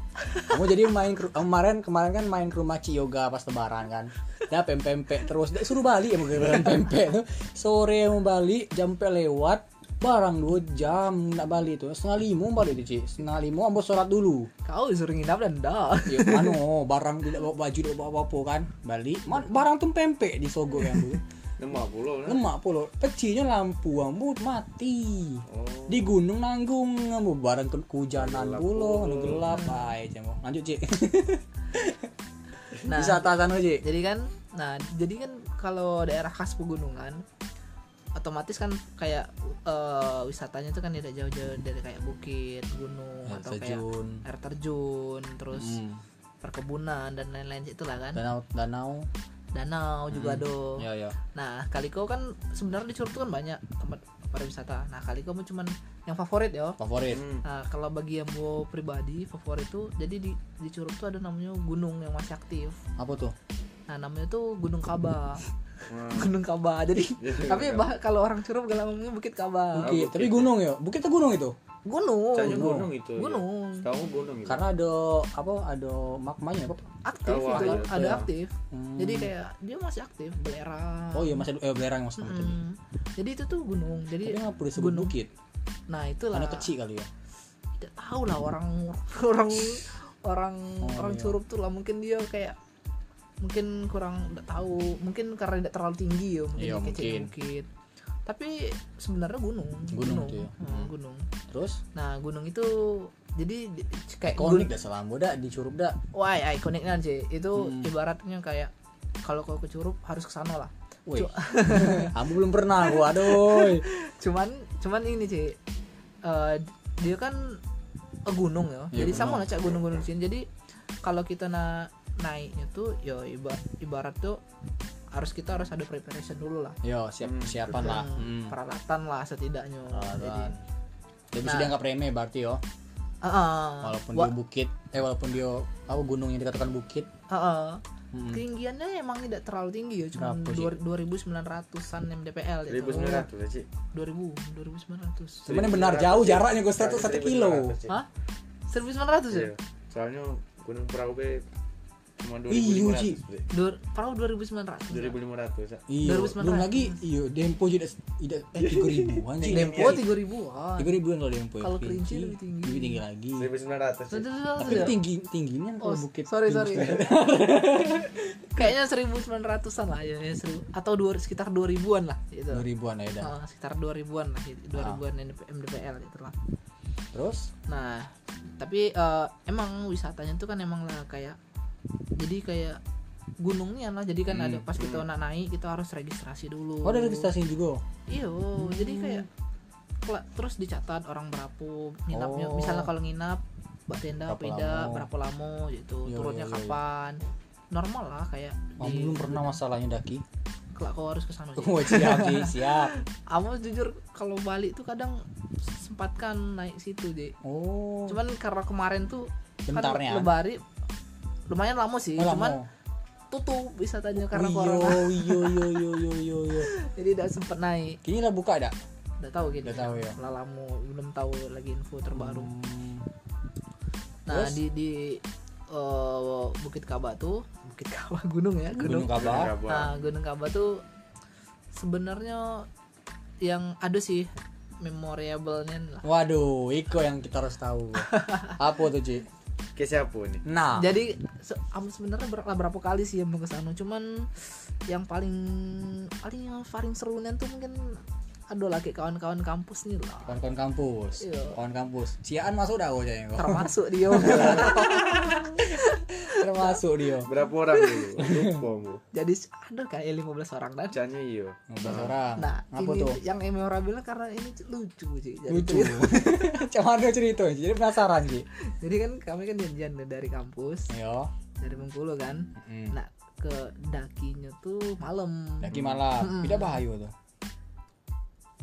Kamu jadi main ke- kemarin kemarin kan main ke rumah Ci Yoga pas lebaran kan. Dia pempek terus dia suruh balik ya mungkin pempek tuh. Sore mau balik, jam pe lewat barang dua jam nak balik tuh setengah lima balik tuh cik setengah lima ambo sholat dulu Kau disuruh nginap dan dah. ya anu barang tidak bawa baju tidak bawa apa-apa kan balik man, barang tuh pempek di sogo yang dulu Lemak pulau nah. lemak pula pecinya lampu ambut mati Oh. di gunung nanggung ambu barang ke kehujanan Gelap pula pula. anu gelap ae jamu lanjut cik Nah, bisa anu atasan cik jadi kan nah jadi kan kalau daerah khas pegunungan otomatis kan kayak eh, wisatanya tuh kan tidak jauh-jauh dari kayak bukit, gunung Air atau terjun. kayak air terjun, terus Hmm. perkebunan dan lain-lain itulah kan. danau danau Danau juga ada. ya ya Nah, Kaliko kan sebenarnya di Curug tuh kan banyak tempat pariwisata. Nah, Kaliko mau cuman yang favorit ya. favorit Hmm. Nah, kalau bagi yang gua pribadi favorit tuh jadi di di Curug tuh ada namanya gunung yang masih aktif. apa tuh Nah, namanya tuh Gunung Kaba. Hmm. Nah, Gunung Kaba. Jadi Jadi tapi Gunung bah, kalau orang Curug gak ngomongnya Bukit Kaba. bukit tapi gunung ya bukit itu gunung itu Gunung. Caknya gunung itu. Gunung. Ya. Setahu gunung itu. Oh, karena ada apa ada magmanya apa Aktif itu, Kawah gitu ada ya. aktif. Hmm. Jadi kayak dia masih aktif, belerang. oh iya masih ada- eh, belerang maksudnya Mm-mm. tadi gitu Jadi itu tuh gunung. tapi Jadi nggak perlu Hmm. disebut Iya. gunung. bukit nah itulah. karena kecil kali ya tidak tahu lah orang orang orang Oh, orang iya. curup tuh lah mungkin dia kayak mungkin kurang nggak tahu mungkin karena tidak terlalu tinggi ya mungkin Iya, dia kecil mungkin. bukit tapi sebenarnya gunung Gunung tuh ya. Hmm, Hmm. gunung terus nah gunung itu jadi di- kayak konik gun- dah selama dah dicurup dah wah iya, ikoniknya sih itu Hmm. ibaratnya kayak kalau kau ke curup harus ke sana lah Woi, kamu belum pernah gua, aduh. cuman cuman ini sih eh, dia kan eh, gunung ya Iya, jadi gunung. sama lah cak gunung-gunung di sini jadi kalau kita na naiknya tuh ya iba- ibarat tuh harus kita harus ada preparation dulu lah Yo, siap Hmm. persiapan lah. Hmm, Hmm. peralatan lah setidaknya jadi Peralatan. Dia bisa Nah. dianggap remeh berarti yo, ah, ah. walaupun Wa- dia bukit, eh walaupun dia apa gunung yang dikatakan bukit. ah, ah. Hmm. ketinggiannya emang tidak terlalu tinggi ya cuma Berapa sih? 2900an mdpl itu 1900 ya, Cik. 2000 2900 Sebenarnya benar jauh jaraknya gua satu satu 1900, kilo. Cik. hah 1900 ya Iya. Soalnya Gunung Perahu be cuma Iya, 2500 Ji. Bre. Dur, perahu 2900. 2500 ya. Iya, 2009. belum lagi iyo Dempo juga tidak eh tiga ribuan sih. Iya. Dempo 3000-an. tiga ribuan kalau Dempo. ya. Kalau Kerinci lebih tinggi. Lebih tinggi lagi. Tuh, 1900 ya. tuh, tuh, Tapi tuh, tuh. tinggi tingginya Oh, kalau bukit. sorry tinggi sorry. sekali. Kayaknya 1900-an lah ya, ya, seribu- atau dua, sekitar 2000-an lah gitu. Dua ribuan ya dah. Ah, sekitar 2000-an lah, gitu. 2000-an NDP MDPL gitu lah. Terus Nah, tapi eh, emang wisatanya tuh kan emang lah kayak jadi kayak gunungnya lah jadi kan ada pas kita nak naik kita harus registrasi dulu Hmm. oh ada registrasinya juga. iyo Iya, jadi kayak Hmm. kela- terus dicatat orang berapa nginapnya Oh. misalnya kalau nginap buat tenda Berapa beda lama. berapa lama gitu Iya, turunnya iya, iya, iya. kapan normal lah kayak Kamu Oh, belum pernah masalahnya daki. kelak kau harus kesana sih Wah siap Ji, siap. Aku jujur kalau balik tuh kadang sempatkan naik situ deh Oh. cuman karena kemarin tuh Bentarnya. kan lebari lumayan lama sih Oh, ya. lama. cuman tutup wisatanya karena Oh, corona Iyo iyo iyo iyo iyo iyo. jadi tidak sempet naik Kini udah buka dah. udah tahu gitu Nggak tahu ya. Lah lama belum tahu lagi info terbaru Hmm. nah Terus? di di eh, Bukit Kaba tuh Bukit Kaba gunung ya gunung, Gunung Kaba. nah Gunung Kaba tuh sebenarnya yang ada sih memorable-nya lah Waduh, Iko yang kita harus tahu. Apa tuh, Ci? Ke siapa nih? Nah, jadi se- am- sebenarnya ber- lah berapa kali sih yang mau ke sana cuman yang paling paling yang paling serunya tuh mungkin aduh lagi kawan-kawan kampus nih lah kawan-kawan kampus. Iya. Kawan kampus. Ciaan masuk dah gua Ci. termasuk dia Termasuk dia. Berapa orang dulu? Lupa iya. Bu. jadi ada kayak 15 orang dan Canya iyo. 15 orang. nah Apa ini tuh? yang memorable karena ini lucu sih jadi, Lucu. Cuma ada cerita, Ci. jadi penasaran, Ci. jadi kan kami kan janjian nih dari kampus Ayo. dari Bengkulu kan Iya. Mm. nah ke dakinya tuh malam Lagi malam. Mm. Tidak bahaya tuh.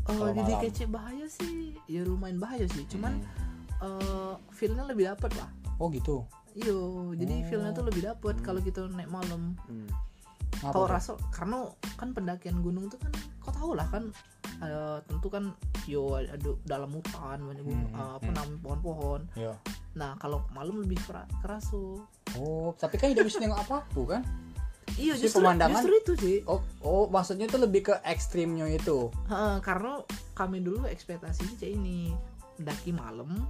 oh kalau jadi malam. kece bahaya sih ya lumayan bahaya sih cuman Mm. eh, feel-nya lebih dapet lah Oh, gitu. Iyo, Oh. jadi feelnya tuh lebih dapet kalau kita naik malam. Hmm. Apa Kau tuh? rasa karena kan pendakian gunung tuh kan kau tahu lah kan eh, tentu kan yo ada dalam hutan banyak gunung, Hmm, eh, apa hmm. namanya pohon-pohon. Iya. Nah kalau malam lebih kera- kerasu. Oh, tapi kan tidak bisa nengok apa kan? Iya Jadi justru pemandangan- justru itu sih. Oh, oh, maksudnya tuh lebih ke ekstrimnya itu. Heeh, karena kami dulu ekspektasinya kayak ini mendaki malam.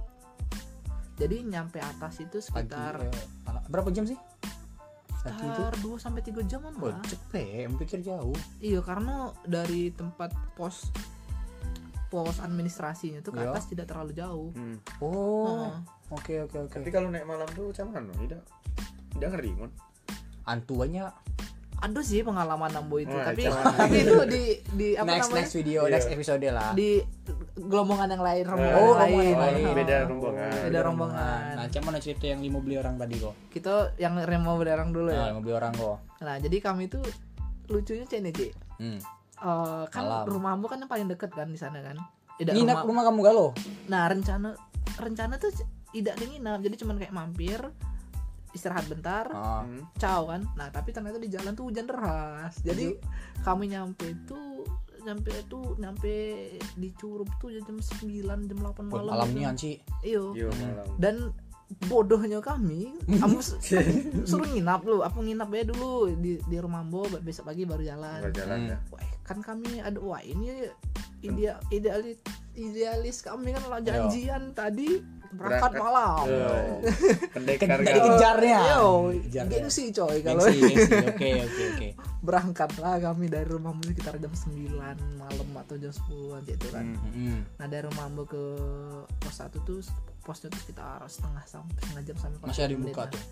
Jadi nyampe atas itu Pagi, sekitar eh, malam. berapa jam sih? Lagi itu. sekitar 2 sampai 3 jaman Oh, lah. cepet, em pikir jauh. Iya karena dari tempat pos pos administrasinya tuh ke Iya. atas tidak terlalu jauh. Hmm. Oh, Heeh. oke oke oke. Tapi kalau naik malam tuh macam mana? Tidak. Tidak ngeri, Mon. Antuannya Ada sih pengalaman Nambo itu, Wah, tapi jangan. tapi itu di di apa next namanya? next video, Iya. next episode lah. Di gelombongan yang lain, rombongan Oh, yang lain. rombongan yang Heeh. lain. Beda rombongan. Beda rombongan. Nah, cuman ada cerita yang lima beli orang tadi kok. Kita yang remo berdarang dulu Nah, ya. lima beli orang kok. Nah, jadi kami tuh lucunya Cen ya, Ci. Hmm. Eh, kan Malam. rumahmu kan yang paling deket kan di sana kan. Tidak Nginap rumah- rumah kamu galo? Nah rencana rencana tuh tidak ada nginap, jadi cuman kayak mampir istirahat bentar, Ah. Hmm. ciao kan. Nah tapi ternyata di jalan tuh hujan deras, jadi kami nyampe tuh nyampe tuh nyampe di Curup tuh ya jam 9 jam 8 Buat malam. malam gitu. nian sih. Iyo. Iyo iya, malam. Dan bodohnya kami, kamu s- kamu suruh nginap lu, aku nginap aja dulu di di rumah Mbo, besok pagi baru jalan. Nggak jalan Hmm. ya. Wah, kan kami ada wah ini ideal idealis idealis kami kan lah Iya. janjian tadi berangkat Berangkat. malam. Yo. Ke, Pendekar dari galau. kejarnya. Yo, Kejar ya. gengsi coy kalau Gengsi, gengsi. Oke, oke, oke. berangkatlah kami dari rumahmu sekitar jam 9 malam atau jam 10 gitu kan. Hmm. Mm-mm. Nah, dari rumahmu ke pos 1 tuh posnya tuh sekitar setengah sampai setengah jam sampai Masih ada yang 40 buka menit tuh.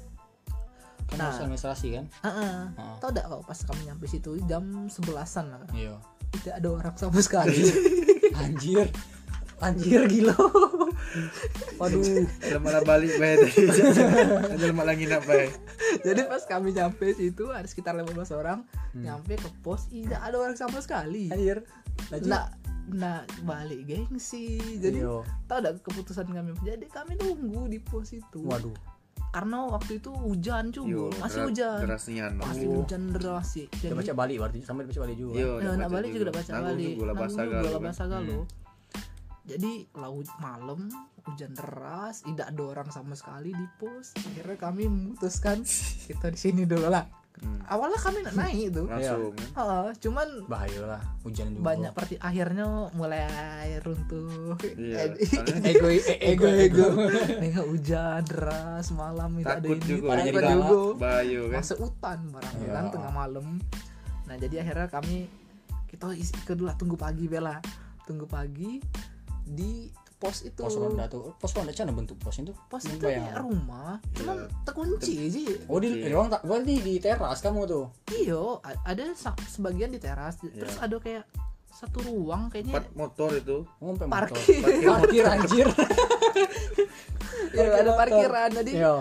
Kan Nah. harus administrasi kan? lah. Heeh. Heeh. Tau gak kau pas kami nyampe situ jam 11-an lah kan. Iya. Tidak ada orang sama sekali. Anjir. Anjir gila. Waduh. Lemah balik bae tadi. Ada lemah lagi nak bae. Jadi pas kami nyampe situ ada sekitar 15 orang Hmm. nyampe ke pos tidak ada orang sama sekali. Anjir. Lanjut. Nah, nah balik gengsi. Jadi Iya. tau gak keputusan kami. Jadi kami nunggu di pos itu. Waduh. Iya, Karena waktu itu hujan Yo, cuy, masih deras- hujan. Derasnya no. Masih Oh. hujan deras sih. Dia Jadi baca balik berarti sampai baca balik juga. Yo, Nah, nak balik juga udah baca Nanggung balik. ya. Hmm. juga lah Nanggung bahasa juga galau. lah kan. bahasa galau. Jadi laut malam hujan deras tidak ada orang sama sekali di pos akhirnya kami memutuskan kita di sini dulu lah Hmm. awalnya kami nak naik itu langsung kan? Ah, cuman bahaya lah hujan juga banyak perti akhirnya mulai runtuh Iya, Eh, soalnya- ego e- ego ego Nengok hujan deras malam itu ada Takut ini juga. takut Jadi galak. Bayu kan masuk hutan barang Iya. kan tengah malam nah jadi akhirnya kami kita isi kedua tunggu pagi bela tunggu pagi di pos itu pos ronda tuh pos ronda cana bentuk pos itu Gitu. pos itu ya, Bayang. kayak rumah cuman terkunci sih oh di Iya. ruang tak berarti di teras kamu tuh iyo a- ada sa- sebagian di teras terus ada kayak satu ruang Iya. empat kayaknya motor itu ngompe parkir parkir anjir Iya, ada motor. parkiran jadi iya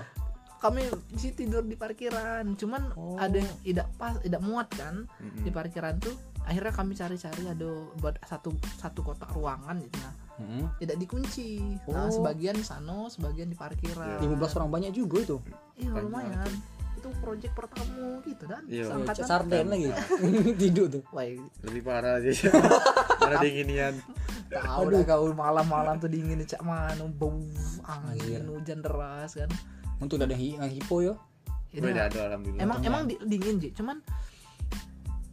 kami sih tidur di parkiran cuman Oh. Hmm. ada yang tidak pas tidak muat kan Mm-mm. di parkiran tuh akhirnya kami cari-cari ada buat satu satu kotak ruangan gitu nah Mm-mm. tidak dikunci nah Oh. sebagian di sana sebagian di parkiran 15 orang banyak juga itu iya Banyak lumayan itu project pertama gitu dan Iya. seangkatan. sarden lagi tidur tuh Wah, lebih parah sih karena dinginian tahu dah kau malam-malam tuh dingin cak mana bau angin Anjir. hujan deras kan untuk ada hi- yang hipo yo Ya dah. beda ada alhamdulillah emang Untungnya. emang di- dingin sih cuman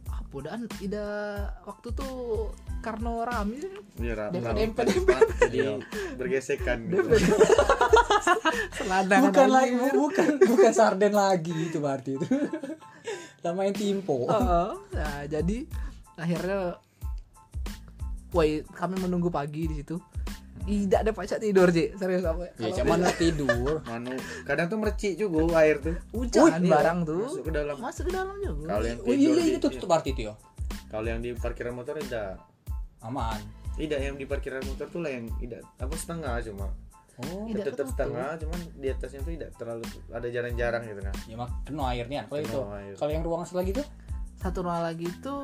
apa dan ida waktu tuh karena rame Iya, ra- Dempet, ra- dempet, jadi bergesekan gitu Nah, selada bukan lagi bukan bukan sarden lagi itu berarti itu namanya timpo nah jadi akhirnya woi kami menunggu pagi di situ tidak ada pajak tidur sih serius apa ya Iya, cuman tidur Manu, kadang tuh mercik juga oh, air tuh hujan Wih, barang tuh masuk ke dalam masuk ke dalam juga kalau yang oh iya tidur iya di- gitu. itu tutup berarti itu yo kalau yang di parkiran motor tidak aman tidak yang di parkiran motor tuh lah yang tidak apa setengah cuma oh Tidak tetap ketutup. setengah cuman di atasnya tuh tidak terlalu ada jarang-jarang gitu kan ya mak kena airnya kalau itu Kena air. kalau yang ruang sebelah gitu satu ruang lagi itu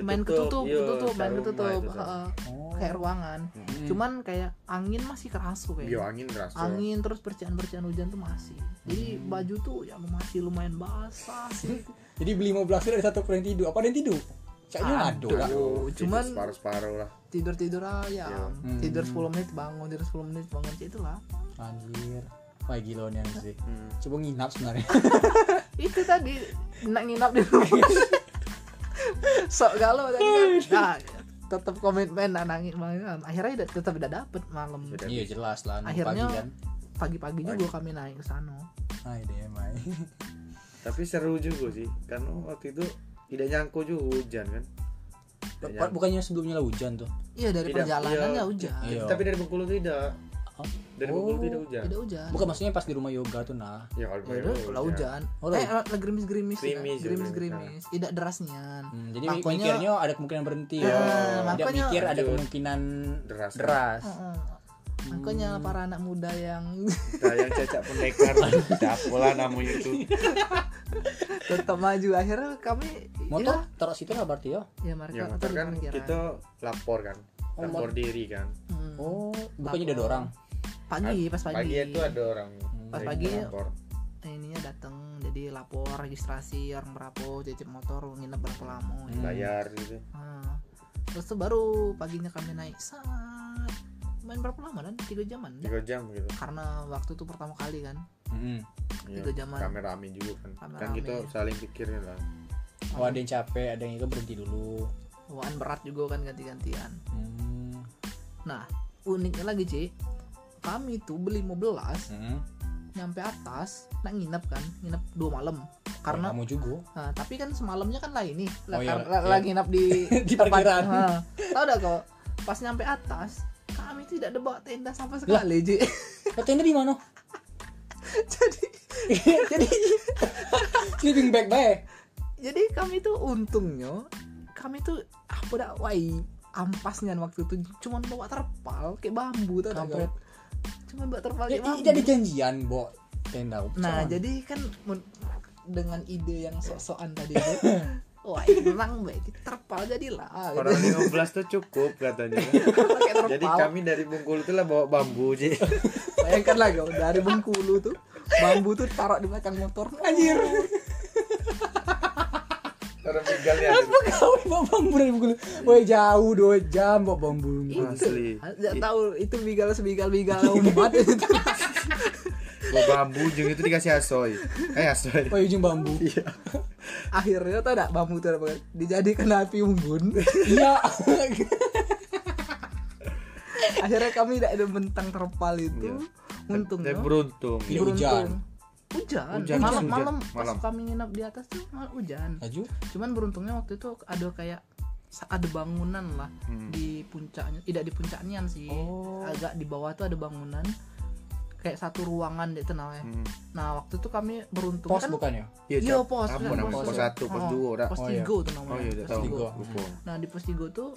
main ketutup Tertutup, iya, ketutup main rumah ketutup itu, kan. Sar. heeh. oh kayak ruangan Hmm. cuman kayak angin masih kerasa Iya, kayaknya angin keras Cok. angin terus percikan-percikan hujan tuh masih jadi Hmm. baju tuh ya masih lumayan basah sih jadi beli 15 dari satu kurang tidur apa ada yang tidur kayaknya Aduh. aduh Kak. Aduh, Aduh, Oh, cuman- itu separuh-separuh lah tidur tidur aja Iya. Hmm. tidur 10 menit bangun tidur 10 menit bangun sih itulah anjir wah gila nih anjir Hmm. coba nginap sebenarnya itu tadi nak nginap di rumah sok galau tadi kan nah, tetap komitmen nah, nangis malam akhirnya tidak- tetap tidak dapet malam Beda. iya jelas lah nunggu Akhirnya- pagi kan pagi-paginya gua kami naik ke sana Hai deh mai tapi seru juga sih karena waktu itu tidak nyangkau juga hujan kan Tidak Bu- bukannya sebelumnya lah hujan tuh iya dari Tidak, perjalanan iya. ya hujan Iya. nyangkau. tapi dari Bengkulu tidak Oh. dari Bengkulu Oh, tidak hujan tidak hujan bukan maksudnya pas di rumah yoga tuh nah ya kalau Ya udah, lah hujan. Oh, eh, lah. lah gerimis-gerimis. ya. Gerimis, Gerimis-gerimis. Tidak derasnya. Hmm, jadi Makanya- Ah, mikirnya ada kemungkinan berhenti Iya. ya. Tidak Makanya- Ah. mikir ada Lanjut. kemungkinan Deras. deras. Heeh. Makanya Hmm. para anak muda yang Nah, yang cacak pendekar siapa lah namanya itu tetap maju akhirnya kami Motor Iya. taruh situ lah berarti ya. ya, ya mereka ya motor kan kita lapor kan Oh, lapor diri kan Oh, bukannya udah ada orang. Hmm. pagi pas pagi, pagi itu ada orang Pas yang pagi- hmm. lapor ininya datang jadi lapor registrasi orang berapa cicip motor nginep berapa lama gitu. bayar gitu Nah, terus tuh baru paginya kami naik saat main berapa lama dan tiga jaman dah. tiga jam gitu karena waktu itu pertama kali kan Mm-mm. ya, Tiga jaman. kamerami juga kan Rame-rame. kan kita saling pikirin lah Oh, ada yang capek, ada yang itu berhenti dulu. bawaan berat juga kan ganti-gantian Hmm. Nah, uniknya lagi, Ci. Kami tuh beli 15 Mm-mm. nyampe atas, nak nginep kan, nginep dua malam. Oh, Karena kamu juga. nah, tapi kan semalamnya kan lain nih, Oh, iya, karena iya. lagi nginep di Di tempat- parkiran. Nah, Tahu dah kau, pas nyampe atas, kami tidak ada bawa tenda sama sekali, Ci. Oh, tenda di mana? jadi Jadi sleeping bag bae. jadi kami tuh untungnya kami tuh apa dah wai ampasnya waktu itu cuman bawa terpal kayak bambu tuh Kampret. cuman bawa terpal Ya, kayak bambu i- jadi janjian, Bo. Tenda. Nah, Cuman. jadi kan men- dengan ide yang sok-sokan tadi itu, wah hilang baik terpal jadilah. Gitu. orang 15 tuh cukup katanya Pakai terpal. jadi kami dari Bengkulu tuh lah bawa bambu sih Bayangkan lah kau dari Bengkulu tuh bambu tuh taruh di belakang motor. anjir. Orang ya, gitu. tinggalnya Kenapa kau bawa bambu dari Bengkulu? Woi jauh dua jam bawa bambu. Asli. Nggak tahu itu bigal sebigal bigal umat itu. Gua bambu ujung itu dikasih asoy. Eh asoy. Woi ujung bambu. Iya. Akhirnya tau enggak bambu itu apa? Dijadikan api unggun. Iya. Akhirnya kami tidak ada bentang terpal itu. Iya. Untungnya. Tapi beruntung. gitu. Iya. beruntung. hujan. Hujan. Hujan, malam, hujan. malam, pas Malam. kami nginep di atas tuh malah hujan. Laju. Cuman beruntungnya waktu itu ada kayak sa- ada bangunan lah Hmm. di puncaknya, tidak di puncaknya sih. Oh. Agak di bawah tuh ada bangunan kayak satu ruangan deh tenang ya. Hmm. Nah, waktu itu kami beruntung Pos kan bukan ya? Iya, Iya, Cak. pos. Apa kan, namanya? Pos satu, pos Oh, dua, ora. Pos Oh, iya. tiga tuh namanya. Oh iya, udah pos tahu. tiga. tiga. Lupa. Nah, di pos tiga tuh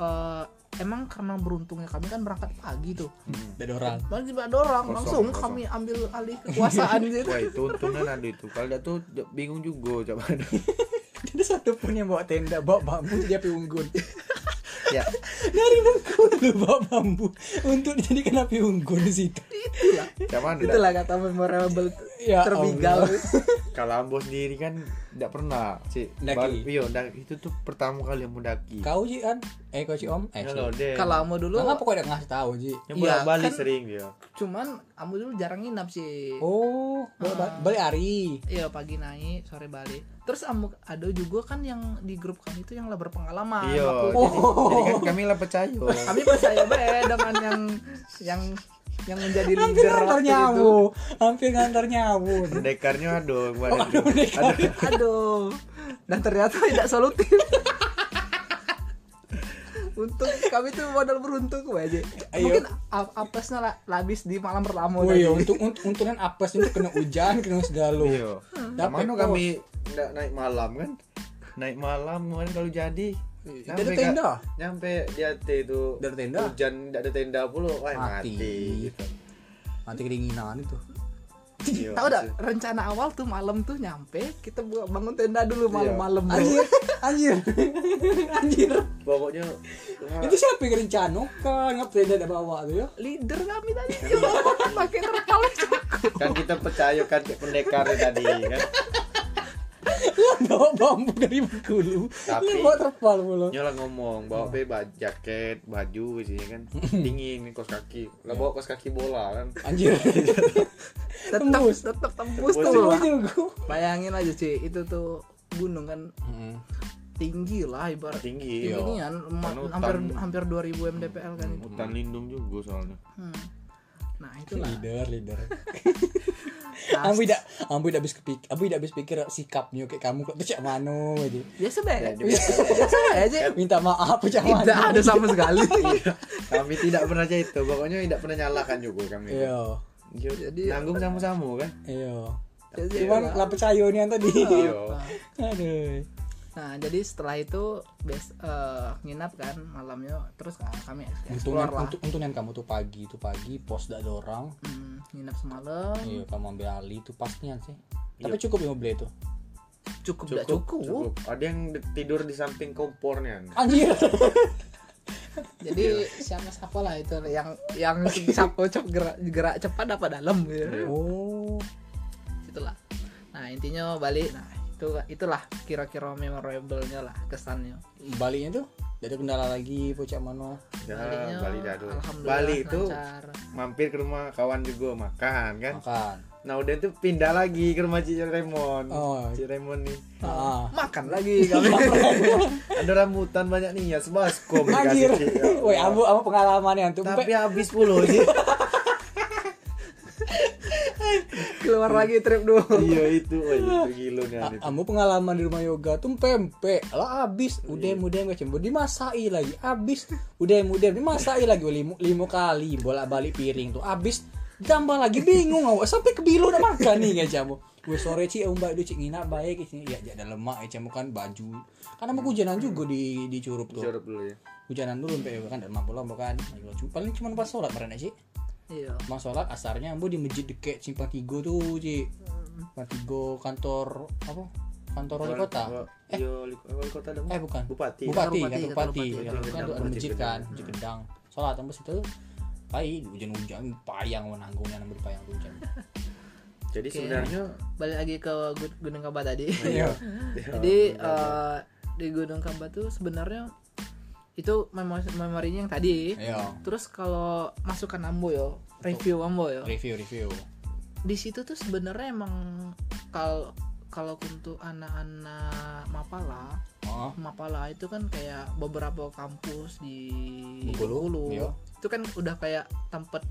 eh, emang karena beruntungnya kami kan berangkat pagi tuh. Hmm. Ada orang. Malah tiba ada orang Kosong, langsung kosong. kami ambil alih kekuasaan gitu. Wah iya. itu untungnya ada itu. Kalau dia tuh dia bingung juga coba. Ada satu pun yang bawa tenda, bawa bambu jadi api unggun. ya. Dari Bengkulu bawa bambu untuk dijadikan api unggun di situ. Itulah. Cuman Itulah kata memorable Ya terbigal. kalau ambo sendiri kan tidak pernah sih. Daki. Baru- Iya, dak- itu tuh pertama kali yang mendaki. Ya, Kau Ji kan? Eh kau Ji Om? Eh. Kalau sorry. deh. Kalau kamu dulu Kenapa kau udah ngasih tahu Ji? yang Iya, bolak balik kan- sering dia. cuman kamu dulu jarang nginap sih. Oh, bawa ba- balik hari. Iya pagi naik, sore balik. Terus kamu ada juga kan yang di grup kami itu yang lah berpengalaman. Iya. Waktu- Oh. Jadi, jadi kan kami lah percaya. Ah, Kami percaya banget dengan yang yang yang menjadi Hampir leader ngantar waktu itu. nyawu, hampir ngantar nyawu. Mendekarnya aduh, gua Oh, aduh, pendekar. Aduh. Dan ternyata tidak solutif. Untung kami tuh modal beruntung Iya. aja. Ayo. Mungkin a- apesnya lah labis di malam pertama Oh tadi. iya, untuk untuk untuk kan apes itu kena hujan, kena segala. Iya. Dapat Mana kos. kami ndak naik malam kan? Naik malam kemarin kalau jadi Iya, nyampe ada tenda. ka- Nyampe di AT itu. Ada tenda. Hujan tidak ada tenda pula. Wah, mati. Mati. gitu. Nanti kedinginan itu. Iya, Tahu dah maksud- rencana awal tuh malam tuh nyampe kita bu- bangun tenda dulu malam-malam. Iya. Anjir, anjir. anjir. Pokoknya wah, Itu siapa yang rencanakan? Ngapa tenda ada bawa tuh ya? Leader kami tadi juga pakai terpal cukup. kan kita percaya kan si pendekar itu tadi kan. Lah bawa bambu dari Bengkulu. Tapi- Lah bawa terpal mulu. Nyola ngomong bawa pe ba- jaket, baju isinya kan dingin kos kaki. Lah bawa kos kaki bola kan. Anjir. Tetap Tembus. tetap tembus Tembus tuh. Tunggu lah. juga. Bayangin aja sih itu tuh gunung kan Heeh. tinggi lah ibarat Tinggi. Iya. ini kan ma- Karena hampir hutan. hampir 2000 mdpl kan itu. Hutan lindung juga soalnya. Hmm. Nah itulah. Leader, leader. Nah, Ambu tidak, ambu tidak habis kepikir, ambu tidak habis pikir sikapnya kayak kamu kok tuh cak mano gitu. aja. biasa deh. Ya, dia Biasa biasa. biasa aja. Minta maaf cak mano. Tidak ada sama sekali. kami tidak pernah aja itu. Pokoknya tidak pernah nyalakan juga kami. Iya. Yo, Jadi- nanggung sama-sama kan. Iya. Jadi, Cuman lah percaya nih yang tadi. Iya. nah, Aduh. Nah, jadi setelah itu bes, eh, nginap kan malamnya terus ah, kami Untungnya, explore lah. untung, untungnya kamu tuh pagi tuh pagi pos tidak ada orang. Hmm, nginap semalam Iya kamu ambil alih tuh pastinya sih. Tapi cukup yang beli itu. cukup tidak cukup. cukup. Ada yang de- tidur di samping kompornya. Anjir. Jadi siapa siapa lah itu yang yang siapa cep gerak gerak cepat dapat dalam gitu. Oh. Itulah. Nah, intinya balik. Nah, itu itulah kira-kira memorable-nya lah kesannya. Baliknya tuh tidak ada kendala lagi pucak mano. Ya, Baliknya, Bali dadu. alhamdulillah Bali itu lancar. mampir ke rumah kawan juga makan kan. Makan. Nah, udah tuh pindah lagi ke rumah Cik Raymond. Oh. Cik Raymond nih. Ah. makan lagi kami. Ada rambutan banyak nih ya, sebaskom dikasih. Anjir. Cik. Ya Woi, ambu ambu pengalamannya tuh. Iya. Tapi Tapi habis puluh sih. Keluar lagi trip dulu. iya itu, woi itu gila nih Anit. ambu Ah, pengalaman di rumah yoga tuh pempek. Lah habis, udem udem gak cembur dimasai lagi. Habis, udem udem dimasai lagi Woi, limo, limo kali bolak-balik piring tuh. Habis tambah lagi bingung awak sampai ke bilu udah makan nih gak cembur. Gue sore Ci, om baik Ci nginap baik Ci. Ya jadi lemak ya cembur kan baju. Karena mau hujanan juga di di curup tuh. Jorok dulu ya. Hujanan dulu sampai kan dan mampu lomba kan. Paling cuma pas sholat merana sih. Iya. Emang sholat asarnya ambo di masjid deket simpang tiga tuh Ci Hmm. simpang tiga kantor apa kantor wali kota Iya, wali wali kota ada eh bukan Bupati. bupati Kantor kantor bupati, kantor bupati kantor bupati. bupati tuh ada Masjid masjid Gedang. kan masjid gedang sholat ambo situ pai hujan hujan payang mau nanggungnya nambah di payang hujan Jadi Oke. sebenarnya balik lagi ke Gu- Gunung Kaba tadi Iya. jadi Oh, iya, eh, di Gunung Kaba tuh sebenarnya itu memo- memorinya yang tadi Iya. terus kalau masukan Ambo yo review Ambo yo Review review. di situ tuh sebenarnya emang kalau kalau untuk anak-anak Mapala Oh. Mapala itu kan kayak beberapa kampus di Bengkulu, iya. itu kan udah kayak tempat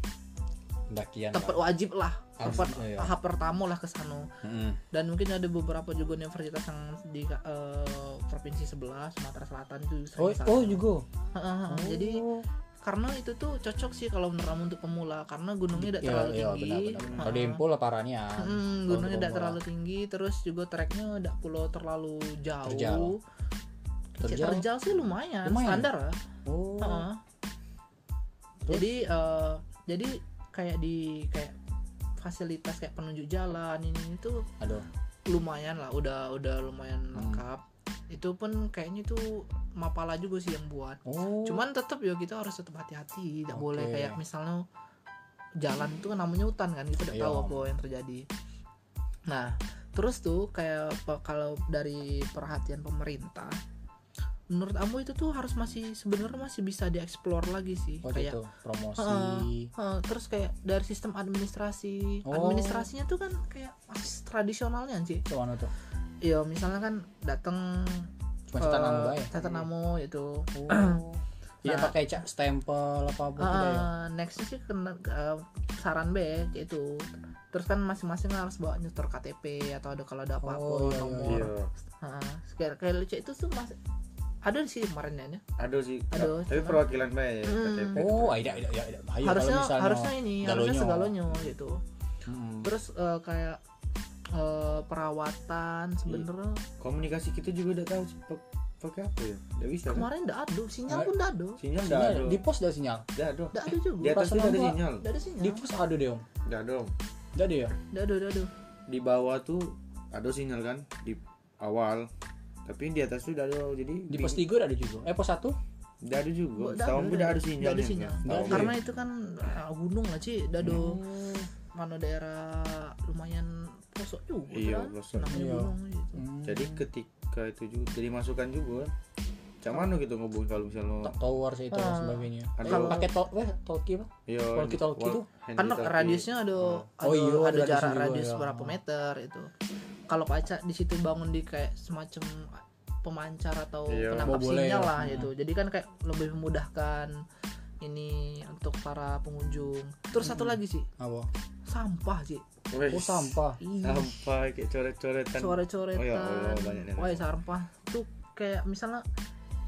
Pendakian. tempat wajib lah Harus, tempat iya. tahap pertama lah ke sana Heeh. dan mungkin ada beberapa juga universitas yang di eh, provinsi sebelah Sumatera Selatan itu sering Oh, ke sana. oh juga. Heeh, heeh. Ah, jadi Oh. karena itu tuh cocok sih kalau menurut kamu untuk pemula karena gunungnya tidak Iya, terlalu iya, tinggi benar, benar, benar. Kalau di Heeh. Impo lah parahnya. Mm, Kalau gunungnya untuk tidak pemula. terlalu tinggi terus juga treknya tidak pulau terlalu jauh Terjal. Cek Terjal? terjal Ah. sih lumayan, Lumayan. standar lah Oh. Heeh. Terus? jadi eh, jadi kayak di kayak fasilitas kayak penunjuk jalan ini itu Aduh. lumayan lah udah udah lumayan Hmm. lengkap itu pun kayaknya itu mapala juga sih yang buat Oh. cuman tetap ya kita harus tetap hati-hati tidak Oke. boleh kayak misalnya jalan itu kan namanya hutan kan kita tidak Iya. tahu apa yang terjadi nah terus tuh kayak pe- kalau dari perhatian pemerintah menurut kamu itu tuh harus masih sebenarnya masih bisa dieksplor lagi sih Oh, kayak gitu. Promosi. eh, terus kayak dari sistem administrasi Oh. administrasinya tuh kan kayak masih tradisionalnya sih Itu anu tuh. ya misalnya kan datang Cuma cetak eh, gitu. nama bae. cetak nama itu Oh. Iya Nah. pakai cak stempel apa apa gitu ya. Ah, nextnya sih kena eh, saran B yaitu terus kan masing-masing harus bawa nyetor KTP atau ada kalau ada apa-apa Oh, iya, iya, nomor Iya. Ah, kayak kayak lucu itu tuh mas ada sih kemarin ya Nya. Aduh sih. Aduh, tapi cuman- perwakilan baik. Hmm. KTP. Oh, aida aida ya aida. Bahaya harusnya kalau misalnya. harusnya ini harusnya galonyo. segalonyo gitu Mm. terus eh, kayak eh, perawatan sebenernya Iya. Komunikasi kita juga udah tahu sih pak- pakai apa ya. Udah bisa. Kan? kemarin ndak ada Iya. sinyal pun ndak ada Sinyal enggak Sinyal, ada. di pos dah sinyal. Enggak ada. ndak ada juga Di atas perasaan itu ada gua- sinyal. ndak ada Di sinyal pos ada deh, Om. Enggak dong. Enggak ada ya? ndak ada ndak ada Di bawah tuh ada sinyal kan di awal. Tapi di atas tuh enggak ada. Jadi Di pos 3 ada juga. Eh pos 1? Enggak ada juga. Ndak Setahun ada, pun enggak ada ndak sinyal. ada sinyal Ndak ada. karena itu kan ah, gunung lah Ci ndak ada Hmm. mana daerah lumayan pelosok juga Iya, kan pelosok. namanya Iya. gunung gitu Jadi ketika itu juga jadi masukan juga. Cak Nah. mana kita ngobongin kalau misalnya tower sih itu dan Ah. sebagainya. Ada- Kalau pakai tol, eh talkie apa? yo Walkie-talkie tuh. kan radiusnya ada ada, Oh iya, ada radius jarak juga, radius iya. berapa meter itu kalau paca di situ bangun di kayak semacam pemancar atau Iya. penangkap Oh, boleh sinyal ya. lah Hmm. gitu jadi kan kayak lebih memudahkan ini untuk para pengunjung terus satu lagi sih Apa? sampah sih Oh sampah. Sampah kayak coret-coretan. coret-coretan Oh ya Allah, banyak nih. wah sampah tuh kayak misalnya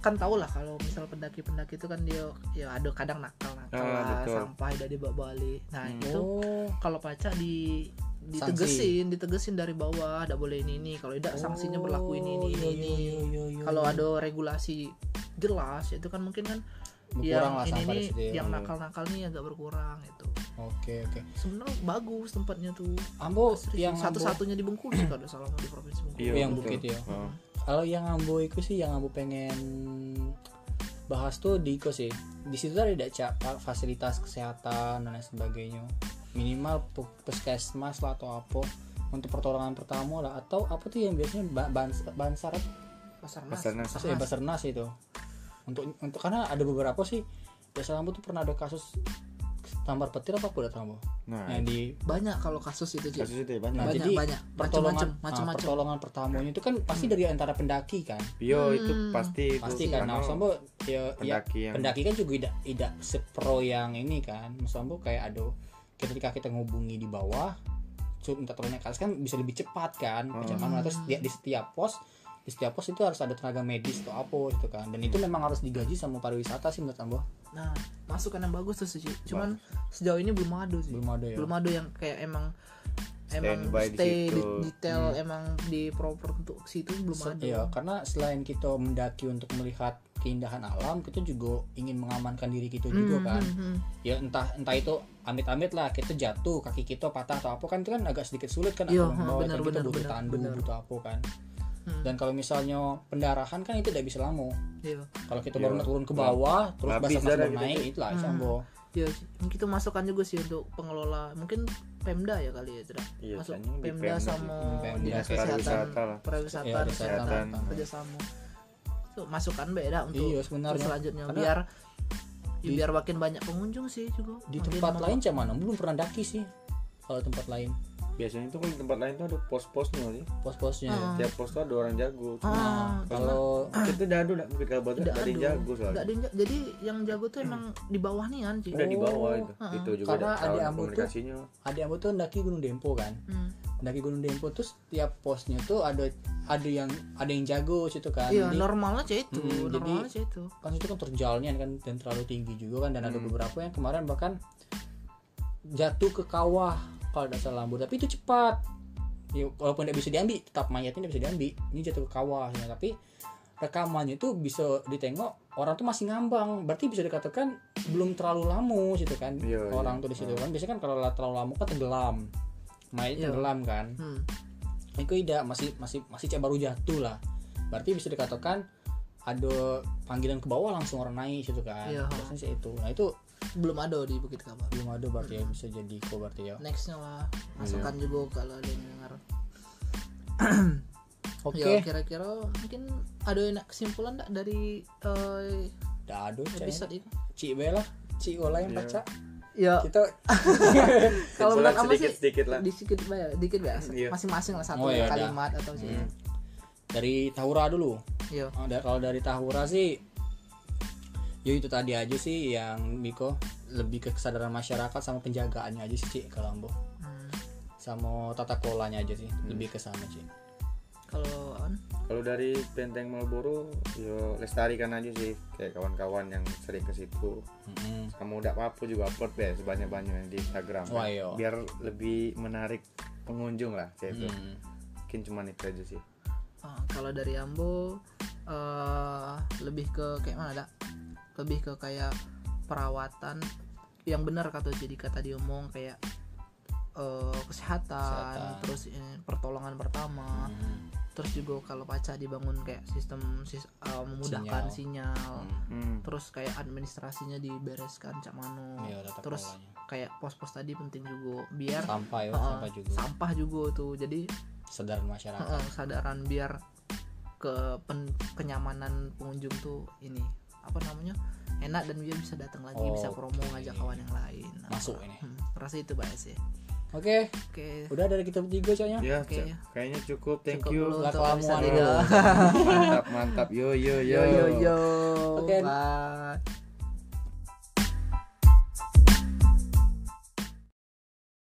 kan tau lah kalau misal pendaki-pendaki itu kan dia ya ada kadang nakal nakal Ah, lah betul. sampah udah dibawa balik nah Hmm. itu Oh. kalau pacak di ditegesin ditegesin dari bawah tidak boleh ini ini kalau tidak sanksinya Oh, berlaku ini Oh, ini iya, iya, ini, ini. kalau ada regulasi jelas itu kan mungkin kan kurang lah yang ini sampah di nih situ. ya. yang Hmm. nakal-nakal nih agak berkurang itu Oke, oke. sebenarnya bagus tempatnya tuh Ambo Serius, yang Ambo- satu-satunya di Bengkulu sih kalau nggak salah di provinsi Bengkulu Oh, Iya, yang betul. bukit ya. Heeh. Kalau yang Ambo itu sih yang Ambo pengen bahas tuh di Iko sih. Di situ ada tidak cak fasilitas kesehatan dan lain sebagainya. Minimal pu- puskesmas lah atau apa untuk pertolongan pertama lah atau apa tuh yang biasanya ba- bans bansar apa? Basarnas. Basarnas. Pas- eh, Basarnas itu. Untuk untuk karena ada beberapa sih biasa Ambo tuh pernah ada kasus tampar petir apa kuda Ambo. Nah, Nah, di Banyak kalau kasus itu Ci. kasus itu ya banyak. Nah, banyak jadi banyak macam-macam pertolongan ah, macam-macam. pertolongan pertamanya itu kan pasti dari antara pendaki kan. Yo iya, itu Hmm. pasti Hmm. itu Pasti kan. Nah, Ambo ya, ya pendaki yang pendaki kan juga tidak tidak sepro yang ini kan maksudnya kayak aduh ketika kita ngubungi di bawah cukup minta tolongnya ke atas kan bisa lebih cepat kan Hmm. macam mana terus di, di setiap pos di setiap pos itu harus ada tenaga medis atau apa gitu kan dan itu memang harus digaji sama pariwisata sih menurut Ambo Nah, masukan yang bagus tuh Ci. Cuman sejauh ini belum ada sih. belum ada ya Belum ada yang kayak emang emang Standby di stay situ. di- detail emang di proper untuk situ belum Hmm. Hmm, Se- ada. Iya, karena selain kita mendaki untuk melihat keindahan alam, kita juga ingin mengamankan diri kita juga Hmm, kan. hmm, hmm. Ya entah entah itu amit-amit lah, kita jatuh, kaki kita patah atau apa kan itu kan agak sedikit sulit kan Iya, atau membawa, benar, kan kita benar, butuh benar, tandu, benar. butuh apa kan. Hmm. Dan kalau misalnya pendarahan kan itu tidak bisa lama. Iya. Kalau kita Iya. baru turun ke bawah, terus Habis basah basah darah gitu, naik, itu lah Hmm. sambo. Iya, Ci. Mungkin itu masukan juga sih untuk pengelola. Mungkin Pemda ya kali ya tidak Iya, masuk kayaknya di Pemda Pemda sih. sama Hmm, Pemda. dinas Dinas kesehatan pariwisata lah. Iya, perwisata kesehatan. kesehatan kerjasama itu masukan beda untuk Iya, untuk sebenarnya. selanjutnya Karena biar ya di- biar makin banyak pengunjung sih juga di Makin tempat mau- lain cuman mana belum pernah daki sih kalau tempat lain biasanya tuh kalau di tempat lain tuh ada pos-posnya sih pos-posnya Ah. tiap pos tuh ada orang jago Cuma ah, nah kalau kita dadu nggak mungkin kabar tidak ada yang jago Nggak soalnya ada yang jago. jadi yang jago tuh emang di bawah nih kan sih udah di bawah Oh, itu ah. itu juga Karena ada adik cara Ambo tuh- komunikasinya adik aku tuh daki Gunung Dempo kan Hmm. daki Gunung Dempo terus tiap posnya tuh ada ada yang ada yang jago situ kan iya Jadi, normalnya sih itu Mm, jadi- normalnya sih itu kan itu kan terjalnya kan dan terlalu tinggi juga kan dan ada Hmm. beberapa yang kemarin bahkan jatuh ke kawah kalau tidak salah Bro. tapi itu cepat ya, walaupun tidak bisa diambil tetap mayatnya tidak bisa diambil ini jatuh ke kawah ya. tapi rekamannya itu bisa ditengok orang tuh masih ngambang berarti bisa dikatakan belum terlalu lama gitu kan Iya, orang iya. tuh di situ kan biasanya kan kalau terlalu lama kan tenggelam mayat Iya. tenggelam kan hmm. Eko tidak masih masih masih cek baru jatuh lah. Berarti bisa dikatakan ada panggilan ke bawah langsung orang naik situ kan. Iya. Biasanya sih itu. Nah itu belum ada di Bukit Kabar belum ada berarti ya bisa jadi kok berarti ya. nextnya lah masukan Iya. juga kalau ada yang dengar Oke. ya kira-kira mungkin ada yang nak kesimpulan nggak dari eh, Dah ada cek. episode ini Cik Bella, Cik Ola yang Iya. pacak. ya Kita kalau menurut Kesimpulan kamu sih sedikit-sedikit lah. dikit ya, dikit ya Iya. masing-masing lah satu Oh, iya, kalimat atau sih Hmm. dari Tahura dulu. Iya. Oh, da- kalau dari Tahura sih ya itu tadi aja sih yang Miko lebih ke kesadaran masyarakat sama penjagaannya aja sih Cik kalau Ambo Hmm. sama tata kelolanya aja sih lebih ke sana Cik. kalau Aon? kalau dari Benteng Marlboro yo lestarikan aja sih kayak kawan-kawan yang sering ke situ Mm-mm. kamu udah apa juga upload deh sebanyak-banyaknya di Instagram Wah, kan. iya. biar lebih menarik pengunjung lah kayak itu Mm. mungkin cuma itu aja sih Ah, kalau dari Ambo eh lebih ke kayak mana dak lebih ke kayak perawatan yang benar kata jadi kata diomong kayak eh, Kesehatan. kesehatan, terus eh, pertolongan pertama Mm. terus juga kalau pacar dibangun kayak sistem sis, eh, memudahkan sinyal, Hmm. hmm. terus kayak administrasinya dibereskan cak mano Iya, tata terus kelolanya. kayak pos-pos tadi penting juga biar sampah ya, eh, sampah juga sampah juga tuh jadi sadar masyarakat. Heeh, kesadaran biar ke pen- kenyamanan pengunjung tuh ini apa namanya enak dan dia bisa datang lagi bisa promo Oh, Oke. ngajak kawan yang lain Nah, Masuk ini. hmm, rasa itu baik sih Oke, oke udah dari kita bertiga cahnya. ya Oke. Cak. kayaknya cukup thank cukup you dulu Lah, untuk kelamuan episode dulu. ini. mantap mantap yo yo yo, yo yo yo Oke. bye